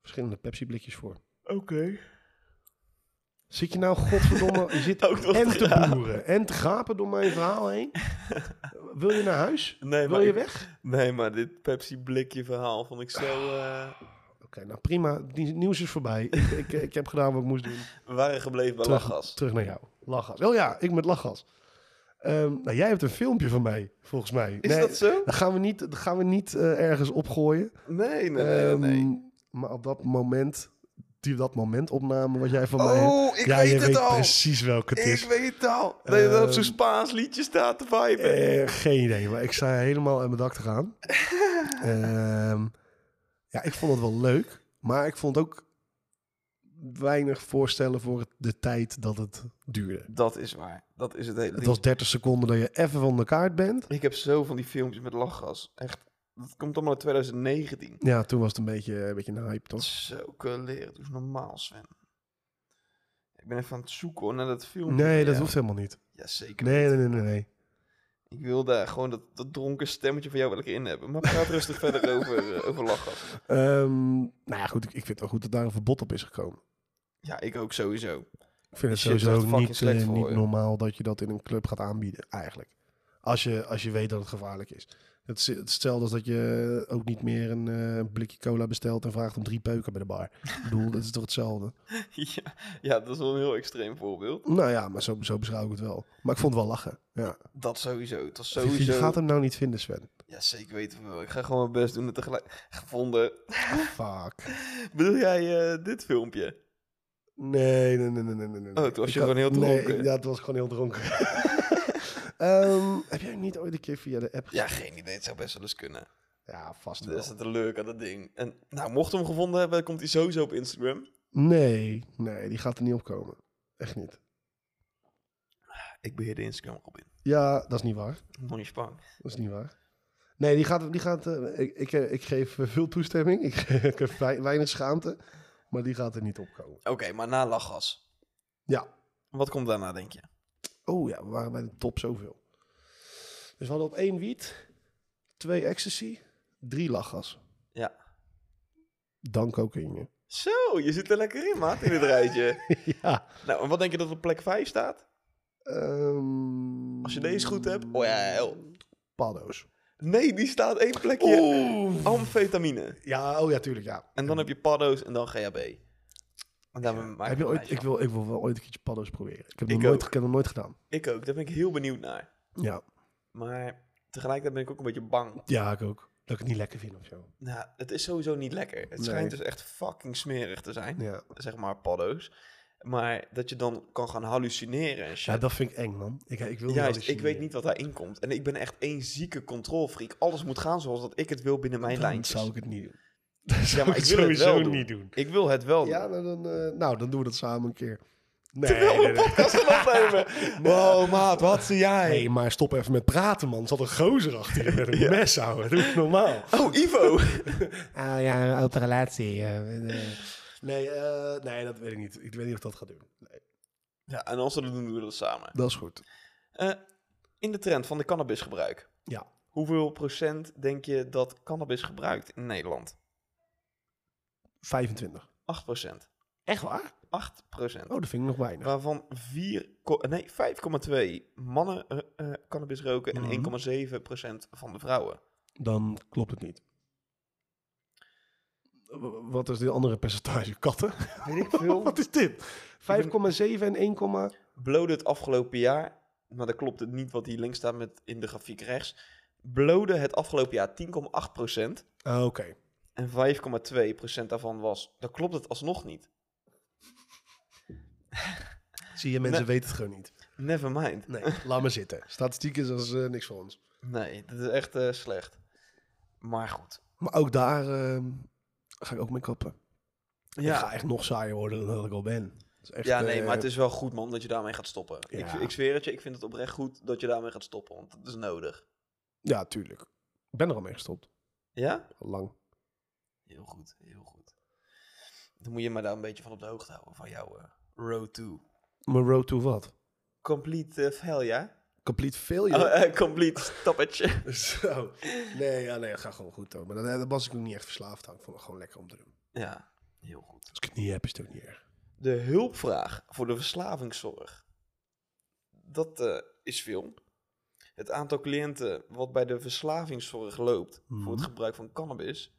[SPEAKER 1] verschillende Pepsi-blikjes voor.
[SPEAKER 2] Oké.
[SPEAKER 1] Zit je nou, godverdomme, je zit
[SPEAKER 2] Ook nog
[SPEAKER 1] en
[SPEAKER 2] te
[SPEAKER 1] te
[SPEAKER 2] gapen.
[SPEAKER 1] boeren en te gapen door mijn verhaal heen. Wil je naar huis?
[SPEAKER 2] Nee,
[SPEAKER 1] Wil
[SPEAKER 2] maar
[SPEAKER 1] je
[SPEAKER 2] ik-
[SPEAKER 1] weg?
[SPEAKER 2] Nee, maar dit Pepsi-blikje verhaal vond ik zo... eh,
[SPEAKER 1] Oké, nou prima. Die nieuws is voorbij. ik, ik, ik heb gedaan wat ik moest doen.
[SPEAKER 2] We waren gebleven bij
[SPEAKER 1] Terug-
[SPEAKER 2] lachgas.
[SPEAKER 1] Terug naar jou. Lachgas. Oh ja, ik met lachgas. Ehm, nou, jij hebt een filmpje van mij, volgens mij.
[SPEAKER 2] Is
[SPEAKER 1] Nee, eh,
[SPEAKER 2] dat zo?
[SPEAKER 1] Dat gaan we niet, dat gaan we niet eh, ergens opgooien.
[SPEAKER 2] Nee, nee, nee.
[SPEAKER 1] Ehm,
[SPEAKER 2] nee.
[SPEAKER 1] Maar op dat moment, die dat moment opname wat jij van mij hebt.
[SPEAKER 2] Oh, ik
[SPEAKER 1] ja, je
[SPEAKER 2] weet
[SPEAKER 1] weet
[SPEAKER 2] het al.
[SPEAKER 1] precies welke het
[SPEAKER 2] Ik
[SPEAKER 1] is.
[SPEAKER 2] weet het al. Dat je dan op
[SPEAKER 1] Ehm,
[SPEAKER 2] zo'n Spaans liedje staat te viben.
[SPEAKER 1] Eh, geen idee, maar ik sta helemaal uit mijn dak te gaan. Ehm, ja, ik vond het wel leuk, maar ik vond ook weinig voorstellen voor het- de tijd dat het duurde.
[SPEAKER 2] Dat is waar. Dat is het hele
[SPEAKER 1] Het
[SPEAKER 2] ding.
[SPEAKER 1] was 30 seconden dat je even van de kaart bent.
[SPEAKER 2] Ik heb zo van die filmpjes met lachgas. Echt. Dat komt allemaal uit 2019.
[SPEAKER 1] Ja, toen was het een beetje een, beetje een hype, toch?
[SPEAKER 2] Zo leren. Doe eens normaal, Sven. Ik ben even aan het zoeken hoor, naar dat filmpje.
[SPEAKER 1] Nee,
[SPEAKER 2] van
[SPEAKER 1] dat
[SPEAKER 2] jou.
[SPEAKER 1] hoeft helemaal niet.
[SPEAKER 2] Jazeker.
[SPEAKER 1] Nee, nee, nee, nee. nee.
[SPEAKER 2] Ik wil daar gewoon dat, dat dronken stemmetje van jou wel een keer in hebben. Maar praat rustig verder over, eh, over lachgas.
[SPEAKER 1] Ehm, nou ja, goed, ik, ik vind het wel goed dat daar een verbod op is gekomen.
[SPEAKER 2] Ja, ik ook sowieso.
[SPEAKER 1] Ik vind het
[SPEAKER 2] shit is echt
[SPEAKER 1] sowieso
[SPEAKER 2] fucking
[SPEAKER 1] niet,
[SPEAKER 2] slecht
[SPEAKER 1] eh,
[SPEAKER 2] voor
[SPEAKER 1] niet
[SPEAKER 2] je.
[SPEAKER 1] normaal dat je dat in een club gaat aanbieden, eigenlijk. Als je, als je weet dat het gevaarlijk is. Het is hetzelfde als dat je ook niet meer een eh, blikje cola bestelt en vraagt om drie peuken bij de bar. ik bedoel, dat is toch hetzelfde?
[SPEAKER 2] ja, ja, dat is wel een heel extreem voorbeeld.
[SPEAKER 1] Nou ja, maar zo, zo beschouw ik het wel. Maar ik vond het wel lachen. Ja.
[SPEAKER 2] Dat sowieso. Het was
[SPEAKER 1] Je,
[SPEAKER 2] sowieso.
[SPEAKER 1] gaat hem nou niet vinden, Sven.
[SPEAKER 2] Ja, zeker weten we wel. Ik ga gewoon mijn best doen en tegelijk. Gevonden.
[SPEAKER 1] Fuck.
[SPEAKER 2] Bedoel jij eh, dit filmpje?
[SPEAKER 1] Nee, nee, nee, nee, nee. nee, nee.
[SPEAKER 2] Oh, toen was
[SPEAKER 1] Ik
[SPEAKER 2] je
[SPEAKER 1] had-
[SPEAKER 2] gewoon heel
[SPEAKER 1] nee,
[SPEAKER 2] dronken.
[SPEAKER 1] ja, het was gewoon heel dronken. Ehm, heb jij niet ooit een keer via de app...
[SPEAKER 2] Ja, geen idee. Het zou best wel eens kunnen.
[SPEAKER 1] Ja, vast wel.
[SPEAKER 2] Dat is het leuk aan dat ding. En nou, mocht we hem gevonden hebben, komt hij sowieso op Instagram.
[SPEAKER 1] Nee, nee, die gaat er niet op komen. Echt niet.
[SPEAKER 2] Ik beheer de Instagram op in.
[SPEAKER 1] Ja, dat is niet waar.
[SPEAKER 2] Nog niet bang.
[SPEAKER 1] Dat is niet waar. Nee, die gaat... Die gaat eh, ik, ik, eh, ik geef eh, veel toestemming. Ik, ik heb wei- weinig schaamte. Maar die gaat er niet op komen.
[SPEAKER 2] Oké, maar na lachgas.
[SPEAKER 1] Ja.
[SPEAKER 2] Wat komt daarna, denk je?
[SPEAKER 1] Oh ja, we waren bij de top zoveel. Dus we hadden op één wiet, twee ecstasy, drie lachgas.
[SPEAKER 2] Ja.
[SPEAKER 1] Dan cocaïne.
[SPEAKER 2] Zo, je zit er lekker in, maat, in het rijtje.
[SPEAKER 1] ja.
[SPEAKER 2] Nou, en wat denk je dat op plek 5 staat?
[SPEAKER 1] Ehm,
[SPEAKER 2] Als je deze goed hebt. Oh ja, hel.
[SPEAKER 1] Paddo's.
[SPEAKER 2] Nee, die staat één plekje. Amfetamine.
[SPEAKER 1] Ja, oh ja, tuurlijk, ja.
[SPEAKER 2] En dan heb je paddo's en dan GHB. En daarmee maak
[SPEAKER 1] Heb
[SPEAKER 2] ik
[SPEAKER 1] je
[SPEAKER 2] een
[SPEAKER 1] ooit,
[SPEAKER 2] lijstje
[SPEAKER 1] ik, wil, ik wil wel ooit een keertje paddo's proberen. Ik heb,
[SPEAKER 2] Ik
[SPEAKER 1] nog nooit,
[SPEAKER 2] ook.
[SPEAKER 1] ik heb nog nooit gedaan.
[SPEAKER 2] Ik ook, daar ben ik heel benieuwd naar.
[SPEAKER 1] Ja.
[SPEAKER 2] Maar tegelijkertijd ben ik ook een beetje bang.
[SPEAKER 1] ja, ik ook. Dat ik het niet lekker vind of zo.
[SPEAKER 2] Nou, het is sowieso niet lekker. Het
[SPEAKER 1] Nee.
[SPEAKER 2] schijnt dus echt fucking smerig te zijn.
[SPEAKER 1] Ja.
[SPEAKER 2] Zeg maar paddo's. Maar dat je dan kan gaan hallucineren en
[SPEAKER 1] ja,
[SPEAKER 2] shit.
[SPEAKER 1] dat vind ik eng, man. Ik, ik wil
[SPEAKER 2] Juist, ik weet niet wat daarin komt. En ik ben echt één zieke controlfreak. Alles moet gaan zoals dat ik het wil binnen mijn
[SPEAKER 1] Dan
[SPEAKER 2] lijntjes.
[SPEAKER 1] zou ik het niet doen. Dan zou
[SPEAKER 2] maar ik wil het wel doen.
[SPEAKER 1] niet doen.
[SPEAKER 2] Ik wil het wel
[SPEAKER 1] Ja,
[SPEAKER 2] doen.
[SPEAKER 1] nou dan, eh, nou, dan doen we dat samen een keer. Nee,
[SPEAKER 2] Terwijl we
[SPEAKER 1] nee,
[SPEAKER 2] een
[SPEAKER 1] nee.
[SPEAKER 2] podcast gaan opnemen. Wow, maat, wat zie jij?
[SPEAKER 1] Hey, maar stop even met praten, man. Er zat een gozer achter je met een mes, houden. Doe het normaal.
[SPEAKER 2] Oh, Ivo.
[SPEAKER 1] Ah,
[SPEAKER 3] Oh ja, een open relatie.
[SPEAKER 1] eh, Nee, eh, nee, dat weet ik niet. Ik weet niet of dat gaat doen. Nee.
[SPEAKER 2] ja, en als we dat doen, doen we dat samen.
[SPEAKER 1] Dat is goed.
[SPEAKER 2] Eh, in de trend van de cannabisgebruik.
[SPEAKER 1] Ja.
[SPEAKER 2] Hoeveel procent denk je dat cannabis gebruikt in Nederland?
[SPEAKER 1] 25.
[SPEAKER 2] 8 procent.
[SPEAKER 1] Echt waar?
[SPEAKER 2] 8 procent.
[SPEAKER 1] Oh, dat vind ik nog weinig.
[SPEAKER 2] Waarvan vier ko- nee, 5,2 mannen eh, eh, cannabis roken
[SPEAKER 1] Mhm.
[SPEAKER 2] en 1,7 procent van de vrouwen.
[SPEAKER 1] Dan klopt het niet. W- Wat is dit andere percentage? Katten?
[SPEAKER 2] Weet ik veel.
[SPEAKER 1] Wat is dit? 5,7 en 1, komma-
[SPEAKER 2] Blode het afgelopen jaar, maar dat klopt het niet wat hier links staat met in de grafiek rechts. Blode het afgelopen jaar 10,8 procent
[SPEAKER 1] Ah, Oké.
[SPEAKER 2] en 5,2 procent daarvan was. Dan klopt het alsnog niet.
[SPEAKER 1] Zie je, mensen weten het gewoon niet.
[SPEAKER 2] Never mind.
[SPEAKER 1] Nee, laat maar zitten. Statistiek is als eh, niks voor ons.
[SPEAKER 2] Nee, dat is echt eh, slecht. Maar goed.
[SPEAKER 1] Maar ook daar ehm, ga ik ook mee kappen. Ja. Ik
[SPEAKER 2] Ja,
[SPEAKER 1] ga echt nog saaier worden dan dat ik al ben. Dat is echt,
[SPEAKER 2] ja nee,
[SPEAKER 1] eh,
[SPEAKER 2] maar het is wel goed, man, dat je daarmee gaat stoppen.
[SPEAKER 1] Ja.
[SPEAKER 2] Ik, ik zweer het je, ik vind het oprecht goed dat je daarmee gaat stoppen, want dat is nodig.
[SPEAKER 1] Ja, tuurlijk. Ik ben er al mee gestopt.
[SPEAKER 2] Ja?
[SPEAKER 1] Al Lang.
[SPEAKER 2] Heel goed, heel goed. Dan moet je me daar een beetje van op de hoogte houden van jouw eh, road to
[SPEAKER 1] Mijn road to wat?
[SPEAKER 2] complete eh, failure.
[SPEAKER 1] Complete
[SPEAKER 2] Oh,
[SPEAKER 1] failure.
[SPEAKER 2] eh, complete stoppage.
[SPEAKER 1] Zo. Nee, ja, nee, het gaat gewoon goed hoor. Maar daar was ik ook niet echt verslaafd aan. Ik vond het gewoon lekker om te doen.
[SPEAKER 2] ja, heel goed.
[SPEAKER 1] Als ik het niet heb, is het ook niet erg.
[SPEAKER 2] De hulpvraag voor de verslavingszorg. Dat eh, is veel. Het aantal cliënten wat bij de verslavingszorg loopt voor het
[SPEAKER 1] Mhm.
[SPEAKER 2] gebruik van cannabis,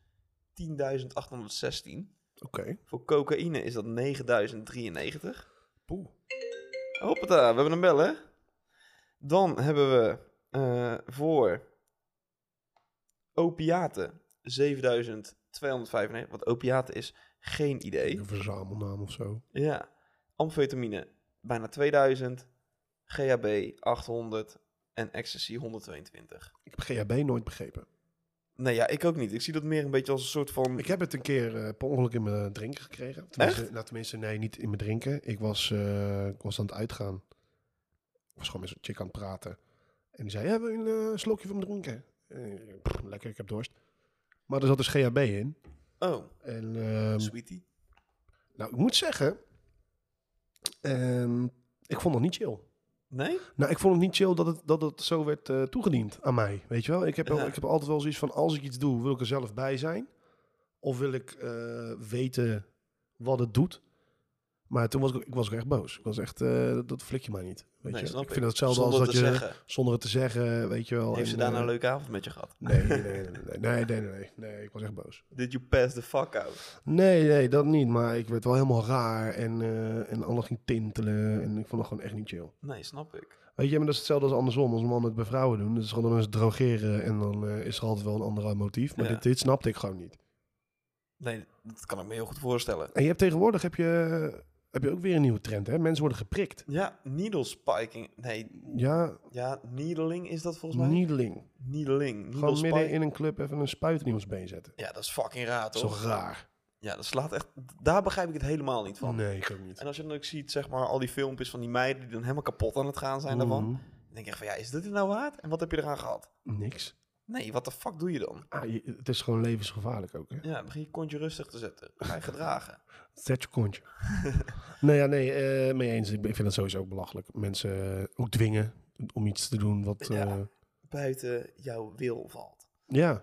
[SPEAKER 2] 10.816.
[SPEAKER 1] Oké.
[SPEAKER 2] Voor cocaïne is dat 9.093.
[SPEAKER 1] Poeh.
[SPEAKER 2] Hoppata, we hebben een bel, hè? Dan hebben we eh, voor opiaten 7295. Want opiaten is geen idee.
[SPEAKER 1] Een verzamelnaam of zo.
[SPEAKER 2] Ja. Amfetamine bijna 2000. GHB 800. En ecstasy 122.
[SPEAKER 1] Ik heb GHB nooit begrepen.
[SPEAKER 2] Nee, ja, ik ook niet. Ik zie dat meer een beetje als een soort van...
[SPEAKER 1] Ik heb het een keer eh, per ongeluk in mijn drinken gekregen. Tenminste, nou, tenminste, nee, niet in mijn drinken. Ik was, eh, ik was aan het uitgaan. Ik was gewoon met zo'n chick aan het praten. En die zei, ja, wil je een eh, slokje van me drinken? En ik, "Pff, lekker, ik heb dorst. Maar er zat dus GHB in.
[SPEAKER 2] Oh,
[SPEAKER 1] En ehm,
[SPEAKER 2] sweetie.
[SPEAKER 1] nou, ik moet zeggen, ehm, ik vond het niet chill.
[SPEAKER 2] Nee?
[SPEAKER 1] Nou, ik vond het niet chill dat het, dat het zo werd eh, toegediend aan mij. Weet je wel? Ik heb, wel-
[SPEAKER 2] Ja.
[SPEAKER 1] ik heb altijd wel zoiets van: als ik iets doe, wil ik er zelf bij zijn. Of wil ik eh, weten wat het doet. Maar toen was ik, ik was ook echt boos. Ik was echt, eh, dat flik je mij niet. Weet
[SPEAKER 2] Nee,
[SPEAKER 1] je?
[SPEAKER 2] snap
[SPEAKER 1] ik
[SPEAKER 2] ik.
[SPEAKER 1] vind het hetzelfde
[SPEAKER 2] Zonder
[SPEAKER 1] als dat
[SPEAKER 2] te
[SPEAKER 1] je
[SPEAKER 2] zeggen.
[SPEAKER 1] zonder het te zeggen, weet je wel.
[SPEAKER 2] Heeft ze
[SPEAKER 1] en,
[SPEAKER 2] daar
[SPEAKER 1] eh,
[SPEAKER 2] nou een leuke avond met je gehad?
[SPEAKER 1] Nee nee nee, nee, nee, nee, nee, nee, nee, nee, ik was echt boos.
[SPEAKER 2] Did you pass the fuck out?
[SPEAKER 1] Nee, nee, dat niet. Maar ik werd wel helemaal raar en, eh, en alles ging tintelen. En ik vond het gewoon echt niet chill.
[SPEAKER 2] Nee, snap ik.
[SPEAKER 1] Weet je, maar dat is hetzelfde als andersom. Als mannen het bij vrouwen doen, dat is gewoon dan is het drogeren en dan eh, is er altijd wel een ander motief. Maar
[SPEAKER 2] Ja.
[SPEAKER 1] dit, dit snapte ik gewoon niet.
[SPEAKER 2] Nee, dat kan ik me heel goed voorstellen.
[SPEAKER 1] En je hebt tegenwoordig heb je heb je ook weer een nieuwe trend, hè? Mensen worden geprikt.
[SPEAKER 2] Ja, needle spiking. Nee,
[SPEAKER 1] Ja,
[SPEAKER 2] ja, needling is dat volgens mij?
[SPEAKER 1] needling.
[SPEAKER 2] Needling. Needle
[SPEAKER 1] Gewoon midden
[SPEAKER 2] spiking.
[SPEAKER 1] in een club even een spuit in iemands been zetten.
[SPEAKER 2] Ja, dat is fucking raar,
[SPEAKER 1] Dat is
[SPEAKER 2] toch?
[SPEAKER 1] toch raar?
[SPEAKER 2] Ja, dat slaat echt... Daar begrijp ik het helemaal niet van.
[SPEAKER 1] Nee, ik ook niet.
[SPEAKER 2] En als je dan ook ziet, zeg maar, al die filmpjes van die meiden die dan helemaal kapot aan het gaan zijn daarvan.
[SPEAKER 1] Mhm.
[SPEAKER 2] Dan denk je echt van, ja, is dit het nou waard? En wat heb je eraan gehad?
[SPEAKER 1] Niks.
[SPEAKER 2] Nee, wat de fuck doe je dan?
[SPEAKER 1] Ah, je- het is gewoon levensgevaarlijk ook, hè?
[SPEAKER 2] Ja, dan begin je kontje rustig te zetten. Ga je gedragen.
[SPEAKER 1] Zet je kontje. nou ja, nee, eh, mee eens. Ik ben- ik vind het sowieso ook belachelijk. Mensen eh, ook dwingen om iets te doen wat...
[SPEAKER 2] Ja.
[SPEAKER 1] eh,
[SPEAKER 2] Buiten jouw wil valt.
[SPEAKER 1] ja.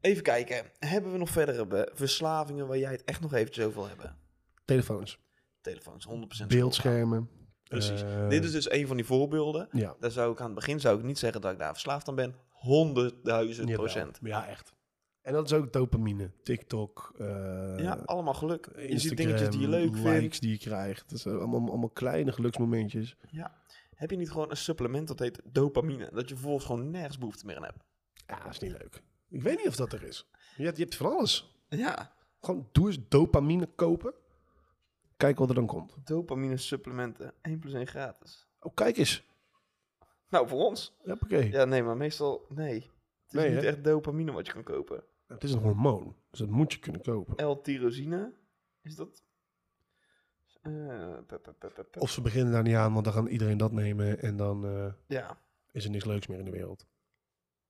[SPEAKER 2] Even kijken. Hebben we nog verdere be- verslavingen waar jij het echt nog eventjes over wil hebben?
[SPEAKER 1] telefoons,
[SPEAKER 2] Telefoons, 100%.
[SPEAKER 1] beeldschermen.
[SPEAKER 2] Precies.
[SPEAKER 1] eh,
[SPEAKER 2] Dit is dus een van die voorbeelden.
[SPEAKER 1] Ja.
[SPEAKER 2] Daar zou ik aan het begin zou ik niet zeggen dat ik daar verslaafd aan ben. 100.000
[SPEAKER 1] Jawel.
[SPEAKER 2] procent.
[SPEAKER 1] Ja, echt. En dat is ook dopamine. TikTok. eh,
[SPEAKER 2] Ja, allemaal geluk. Je ziet
[SPEAKER 1] Instagram,
[SPEAKER 2] dingetjes die je leuk
[SPEAKER 1] likes
[SPEAKER 2] vindt.
[SPEAKER 1] die je krijgt. Dat zijn allemaal, allemaal kleine geluksmomentjes.
[SPEAKER 2] Heb je niet gewoon een supplement dat heet dopamine? Dat je vervolgens gewoon nergens behoefte meer aan hebt.
[SPEAKER 1] Ja, dat is niet leuk. Ik weet niet of dat er is. Je hebt, je hebt van alles.
[SPEAKER 2] Ja,
[SPEAKER 1] Gewoon doe eens dopamine kopen. Kijk wat er dan komt.
[SPEAKER 2] dopamine supplementen. 1 plus 1 gratis.
[SPEAKER 1] Oh, kijk eens.
[SPEAKER 2] Nou, voor ons.
[SPEAKER 1] Hoppakee.
[SPEAKER 2] Ja, nee, maar meestal nee. Het is
[SPEAKER 1] Nee,
[SPEAKER 2] niet
[SPEAKER 1] hè?
[SPEAKER 2] echt dopamine wat je kan kopen.
[SPEAKER 1] Het is een hormoon. Dus dat moet je kunnen kopen.
[SPEAKER 2] L-tyrosine. Is dat? Eh, pe- pe- pe- pe- pe-
[SPEAKER 1] Of ze beginnen daar niet aan, want dan gaan iedereen dat nemen. En dan eh,
[SPEAKER 2] Ja.
[SPEAKER 1] is er niks leuks meer in de wereld.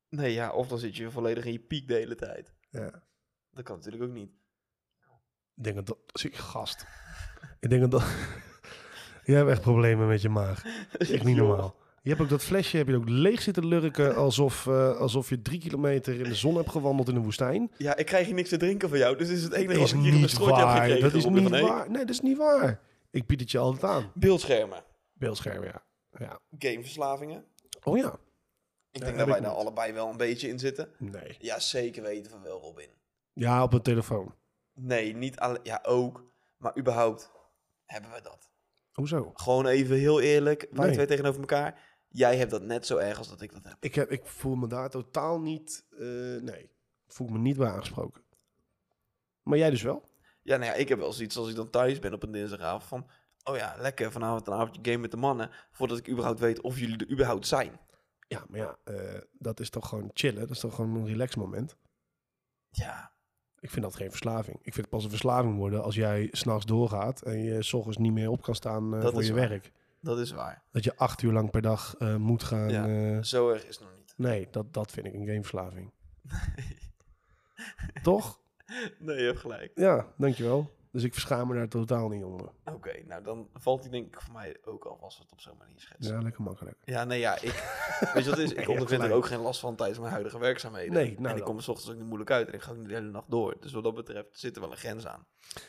[SPEAKER 2] Nee, ja. Of dan zit je volledig in je piek de hele tijd.
[SPEAKER 1] Ja.
[SPEAKER 2] Dat kan natuurlijk ook niet.
[SPEAKER 1] Ik denk dat dat... Zie, gast. Ik denk dat dat... Jij hebt echt problemen met je maag. Dat is echt niet
[SPEAKER 2] Joh.
[SPEAKER 1] normaal. Je hebt ook dat flesje heb je ook leeg zitten lurken alsof, eh, alsof je drie kilometer in de zon hebt gewandeld in de woestijn.
[SPEAKER 2] Ja, ik krijg hier niks te drinken van jou. Dus dit is het enige
[SPEAKER 1] Dat
[SPEAKER 2] wat
[SPEAKER 1] is
[SPEAKER 2] ik hier in mijn
[SPEAKER 1] niet
[SPEAKER 2] strotje heb
[SPEAKER 1] waar.
[SPEAKER 2] gekregen.
[SPEAKER 1] Dat is
[SPEAKER 2] Robin
[SPEAKER 1] niet
[SPEAKER 2] van Eek.
[SPEAKER 1] waar. Nee, dat is niet waar. Ik bied het je altijd aan.
[SPEAKER 2] Beeldschermen.
[SPEAKER 1] Beeldscherm, ja. ja.
[SPEAKER 2] Gameverslavingen.
[SPEAKER 1] Oh ja.
[SPEAKER 2] Ik
[SPEAKER 1] Ja,
[SPEAKER 2] denk dat
[SPEAKER 1] heb
[SPEAKER 2] wij
[SPEAKER 1] ik
[SPEAKER 2] daar
[SPEAKER 1] niet.
[SPEAKER 2] allebei wel een beetje in zitten.
[SPEAKER 1] Nee.
[SPEAKER 2] Ja, zeker weten van wel, Robin.
[SPEAKER 1] Ja, op een telefoon.
[SPEAKER 2] Nee, niet alleen. Ja, ook. Maar überhaupt hebben we dat.
[SPEAKER 1] Hoezo?
[SPEAKER 2] Gewoon even heel eerlijk. Wij
[SPEAKER 1] Nee.
[SPEAKER 2] twee tegenover elkaar. Jij hebt dat net zo erg als dat ik dat heb.
[SPEAKER 1] Ik, heb, ik voel me daar totaal niet... eh, nee. Voel ik me niet bij aangesproken. Maar jij dus wel?
[SPEAKER 2] Ja, nou ja, ik heb wel zoiets als ik dan thuis ben op een dinsdagavond van... Oh ja, lekker vanavond een avondje game met de mannen. Voordat ik überhaupt weet of jullie er überhaupt zijn.
[SPEAKER 1] Ja, maar ja, eh, dat is toch gewoon chillen. Dat is toch gewoon een relax moment.
[SPEAKER 2] Ja,
[SPEAKER 1] Ik vind dat geen verslaving. Ik vind het pas een verslaving worden als jij s'nachts doorgaat en je s ochtends niet meer op kan staan eh,
[SPEAKER 2] Dat
[SPEAKER 1] voor
[SPEAKER 2] is
[SPEAKER 1] je
[SPEAKER 2] waar.
[SPEAKER 1] werk.
[SPEAKER 2] dat is waar.
[SPEAKER 1] Dat je acht uur lang per dag eh, moet gaan.
[SPEAKER 2] Ja.
[SPEAKER 1] eh,
[SPEAKER 2] Zo erg is het nog niet.
[SPEAKER 1] nee, dat, dat vind ik een gameverslaving. Toch?
[SPEAKER 2] Nee, je hebt gelijk.
[SPEAKER 1] Ja, dankjewel. Dus ik verschaam me daar totaal niet onder.
[SPEAKER 2] Oké, nou dan valt die denk ik voor mij ook al als we het op zo'n manier schetsen. Ja.
[SPEAKER 1] Ja, lekker makkelijk.
[SPEAKER 2] nee, ja, ik... Weet je wat het is?
[SPEAKER 1] Nee,
[SPEAKER 2] Ik
[SPEAKER 1] je hebt
[SPEAKER 2] ondervind er
[SPEAKER 1] gelijk.
[SPEAKER 2] ook geen last van tijdens mijn huidige werkzaamheden.
[SPEAKER 1] Nee, nou
[SPEAKER 2] en ik
[SPEAKER 1] dan.
[SPEAKER 2] kom er 's ochtends ook niet moeilijk uit en ik ga ook niet de hele nacht door. Dus wat dat betreft zit er wel een grens aan.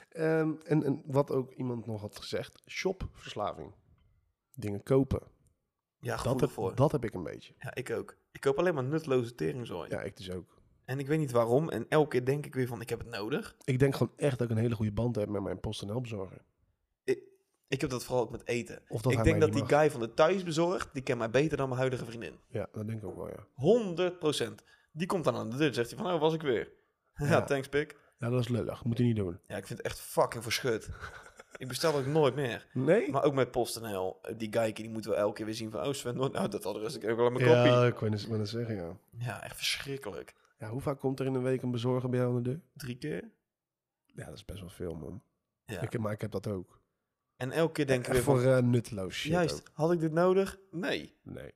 [SPEAKER 1] Ehm, en, en wat ook iemand nog had gezegd, shopverslaving. Dingen kopen.
[SPEAKER 2] Ja,
[SPEAKER 1] Dat
[SPEAKER 2] gevoelig voor.
[SPEAKER 1] heb, dat heb ik een beetje.
[SPEAKER 2] Ja, ik ook. Ik koop alleen maar nutloze teringzooi.
[SPEAKER 1] Ja, ik dus ook.
[SPEAKER 2] En ik weet niet waarom. En elke keer denk ik weer van, ik heb het nodig.
[SPEAKER 1] Ik denk gewoon echt dat ik een hele goede band heb met mijn PostNL-bezorger.
[SPEAKER 2] Ik heb dat vooral ook met eten.
[SPEAKER 1] Of dat
[SPEAKER 2] ik
[SPEAKER 1] hij
[SPEAKER 2] denk
[SPEAKER 1] mij
[SPEAKER 2] dat die
[SPEAKER 1] niet mag.
[SPEAKER 2] guy van de thuisbezorgd, die kent mij beter dan mijn huidige vriendin.
[SPEAKER 1] Ja, dat denk ik ook wel, ja.
[SPEAKER 2] 100%. Die komt dan aan de deur en zegt hij van, oh, was ik weer. Ja,
[SPEAKER 1] Ja.
[SPEAKER 2] thanks, pik.
[SPEAKER 1] Ja, dat is lullig. Moet je niet doen.
[SPEAKER 2] Ja, ik vind het echt fucking verschut. ik bestel ook nooit meer.
[SPEAKER 1] Nee?
[SPEAKER 2] Maar ook met PostNL. eh, Die guyke, die moeten we elke keer weer zien van, oh Sven, nou, dat adres ik ook wel aan mijn kopie.
[SPEAKER 1] ja,
[SPEAKER 2] Ja.
[SPEAKER 1] ik wou net- wou net zeggen, ja.
[SPEAKER 2] echt verschrikkelijk.
[SPEAKER 1] ja. Hoe vaak komt er in een week een bezorger bij jou aan de deur?
[SPEAKER 2] Drie keer.
[SPEAKER 1] Ja, dat is best wel veel, man.
[SPEAKER 2] Ja.
[SPEAKER 1] Ik, maar ik heb dat ook.
[SPEAKER 2] En elke keer denk ik
[SPEAKER 1] Echt
[SPEAKER 2] weer
[SPEAKER 1] voor
[SPEAKER 2] van,
[SPEAKER 1] eh, nutteloos shit
[SPEAKER 2] juist,
[SPEAKER 1] ook.
[SPEAKER 2] had ik dit nodig? Nee.
[SPEAKER 1] Nee.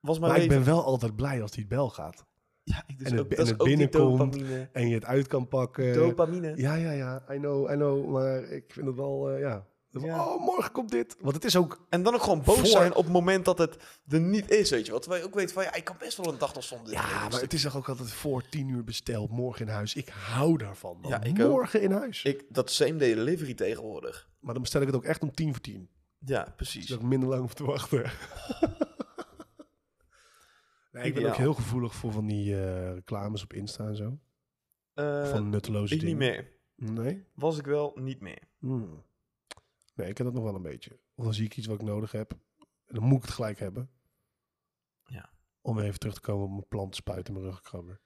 [SPEAKER 2] Was
[SPEAKER 1] Maar,
[SPEAKER 2] mijn
[SPEAKER 1] ik
[SPEAKER 2] leven...
[SPEAKER 1] ben wel altijd blij als die bel gaat.
[SPEAKER 2] Ja, ik dus
[SPEAKER 1] en het
[SPEAKER 2] ook,
[SPEAKER 1] bi-
[SPEAKER 2] dat
[SPEAKER 1] en
[SPEAKER 2] is
[SPEAKER 1] het
[SPEAKER 2] ook die
[SPEAKER 1] binnenkomt.
[SPEAKER 2] dopamine.
[SPEAKER 1] En je het uit kan pakken.
[SPEAKER 2] Dopamine.
[SPEAKER 1] Ja, ja, ja. I know, I know. Maar ik vind het wel, eh, ja.
[SPEAKER 2] Ja.
[SPEAKER 1] Oh, morgen komt dit. Want het is ook...
[SPEAKER 2] En dan ook gewoon boos
[SPEAKER 1] Voor-
[SPEAKER 2] zijn op het moment dat het er niet is, weet je wel. Terwijl je ook weet van, ja, ik kan best wel een dag nog zonder dit
[SPEAKER 1] Ja,
[SPEAKER 2] leven.
[SPEAKER 1] maar het is toch ook altijd voor tien uur besteld, morgen in huis. Ik hou daarvan, man.
[SPEAKER 2] Ja, ik ook.
[SPEAKER 1] morgen in huis.
[SPEAKER 2] ik, dat same day delivery tegenwoordig.
[SPEAKER 1] Maar dan bestel ik het ook echt om tien voor tien.
[SPEAKER 2] Ja,
[SPEAKER 1] Dus
[SPEAKER 2] precies.
[SPEAKER 1] dat ik minder lang hoef te wachten. nee, ik ben
[SPEAKER 2] Ideaal.
[SPEAKER 1] ook heel gevoelig voor van die eh, reclames op Insta en zo.
[SPEAKER 2] Eh,
[SPEAKER 1] van nutteloze
[SPEAKER 2] ik niet
[SPEAKER 1] dingen.
[SPEAKER 2] meer.
[SPEAKER 1] Nee?
[SPEAKER 2] Was ik wel niet meer.
[SPEAKER 1] Hmm. Nee, ik heb dat nog wel een beetje. Of dan zie ik iets wat ik nodig heb. En dan moet ik het gelijk hebben.
[SPEAKER 2] Ja.
[SPEAKER 1] Om even terug te komen op mijn plant spuiten in mijn rugkrabber.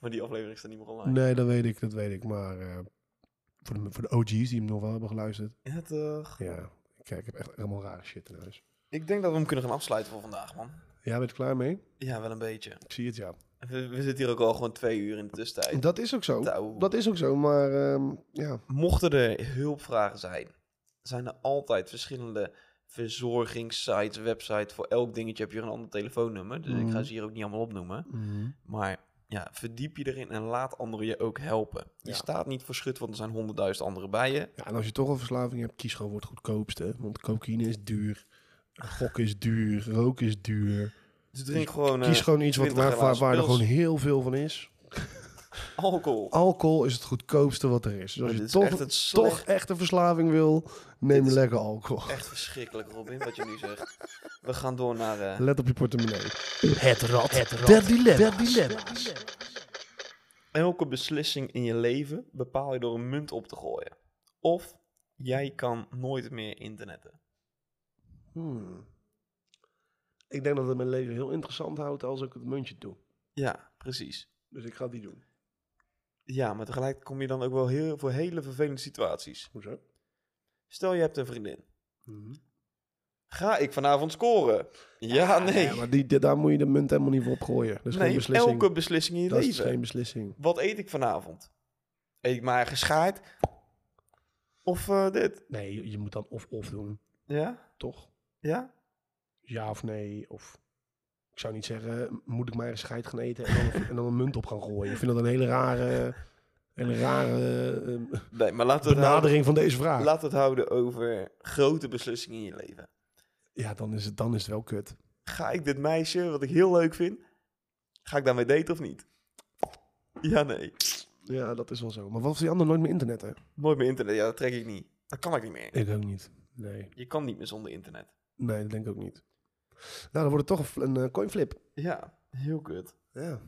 [SPEAKER 2] maar die aflevering staat niet meer online.
[SPEAKER 1] Nee, dat weet ik, dat weet ik. Maar eh, Voor de, voor de OG's die hem nog wel hebben geluisterd.
[SPEAKER 2] Ja, toch.
[SPEAKER 1] Ja, kijk, ik heb echt helemaal rare shit in huis.
[SPEAKER 2] Ik denk dat we hem kunnen gaan afsluiten voor vandaag, man.
[SPEAKER 1] Ja, ben je er klaar mee?
[SPEAKER 2] Ja, wel een beetje.
[SPEAKER 1] Ik zie het, ja.
[SPEAKER 2] We, we zitten hier ook al gewoon twee uur in de tussentijd.
[SPEAKER 1] Dat is ook zo.
[SPEAKER 2] Nou,
[SPEAKER 1] Dat is ook zo, maar ehm, ja.
[SPEAKER 2] Mochten er hulpvragen zijn, zijn er altijd verschillende verzorgingssites, websites. Voor elk dingetje heb je een ander telefoonnummer. Dus ik ga
[SPEAKER 1] Mhm.
[SPEAKER 2] ze hier ook niet allemaal opnoemen. Maar ja, verdiep je erin en laat anderen je ook helpen. Je
[SPEAKER 1] Ja.
[SPEAKER 2] staat niet verschut, want er zijn honderdduizend anderen bij je.
[SPEAKER 1] Ja, en als je toch een verslaving hebt, kies gewoon voor het goedkoopste. Want cocaïne is duur, gok is duur, rook is duur.
[SPEAKER 2] Dus drink gewoon, eh,
[SPEAKER 1] Kies gewoon iets wat,
[SPEAKER 2] 20
[SPEAKER 1] waar, waar,
[SPEAKER 2] glazen
[SPEAKER 1] waar er
[SPEAKER 2] pils.
[SPEAKER 1] gewoon heel veel van is.
[SPEAKER 2] alcohol.
[SPEAKER 1] Alcohol is het goedkoopste wat er is. Dus als
[SPEAKER 2] Dit
[SPEAKER 1] je
[SPEAKER 2] is
[SPEAKER 1] toch,
[SPEAKER 2] echt het
[SPEAKER 1] toch echt een verslaving wil, neem
[SPEAKER 2] Dit is-
[SPEAKER 1] lekker alcohol.
[SPEAKER 2] Echt verschrikkelijk, Robin, wat je nu zegt. We gaan door naar... eh,
[SPEAKER 1] Let op je portemonnee.
[SPEAKER 3] Het rad. Het rad.
[SPEAKER 1] Der dilemma's.
[SPEAKER 2] Elke beslissing in je leven bepaal je door een munt op te gooien. Of jij kan nooit meer internetten.
[SPEAKER 1] Hmm. Ik denk dat het mijn leven heel interessant houdt als ik het muntje doe.
[SPEAKER 2] Ja, precies.
[SPEAKER 1] Dus ik ga die doen.
[SPEAKER 2] Ja, maar tegelijk kom je dan ook wel heel voor hele vervelende situaties.
[SPEAKER 1] Hoezo?
[SPEAKER 2] Stel je hebt een vriendin.
[SPEAKER 1] Mhm.
[SPEAKER 2] Ga ik vanavond scoren? Ja, nee.
[SPEAKER 1] Ja, maar die, die- daar moet je de munt helemaal niet voor op gooien. Dat is geen
[SPEAKER 2] nee,
[SPEAKER 1] beslissing.
[SPEAKER 2] elke beslissing in je
[SPEAKER 1] dat is
[SPEAKER 2] leven.
[SPEAKER 1] geen beslissing.
[SPEAKER 2] Wat eet ik vanavond? Eet ik mijn eigen schaart? Of eh, dit?
[SPEAKER 1] Nee, je- je moet dan of-of doen,
[SPEAKER 2] Ja?
[SPEAKER 1] toch?
[SPEAKER 2] Ja?
[SPEAKER 1] Ja of nee, of... Ik zou niet zeggen, moet ik maar een scheid gaan eten en dan, en dan een munt op gaan gooien. Ik vind dat een hele rare, hele rare eh,
[SPEAKER 2] Nee, maar laten we het houden,
[SPEAKER 1] benadering van deze vraag.
[SPEAKER 2] laten we het houden over grote beslissingen in je leven.
[SPEAKER 1] Ja, dan is, het, dan is het wel kut.
[SPEAKER 2] ga ik dit meisje, wat ik heel leuk vind, ga ik daarmee daten of niet? Ja, nee.
[SPEAKER 1] Ja, dat is wel zo. Maar wat als die ander nooit meer internet, hè?
[SPEAKER 2] Nooit meer internet. Ja, dat trek ik niet. Dat kan ik niet meer.
[SPEAKER 1] Ik ook niet. Nee,
[SPEAKER 2] Je kan niet meer zonder internet.
[SPEAKER 1] nee, dat denk ik ook niet. Nou, dan wordt het toch een, fl- een eh, coinflip.
[SPEAKER 2] Ja, heel kut.
[SPEAKER 1] Ja.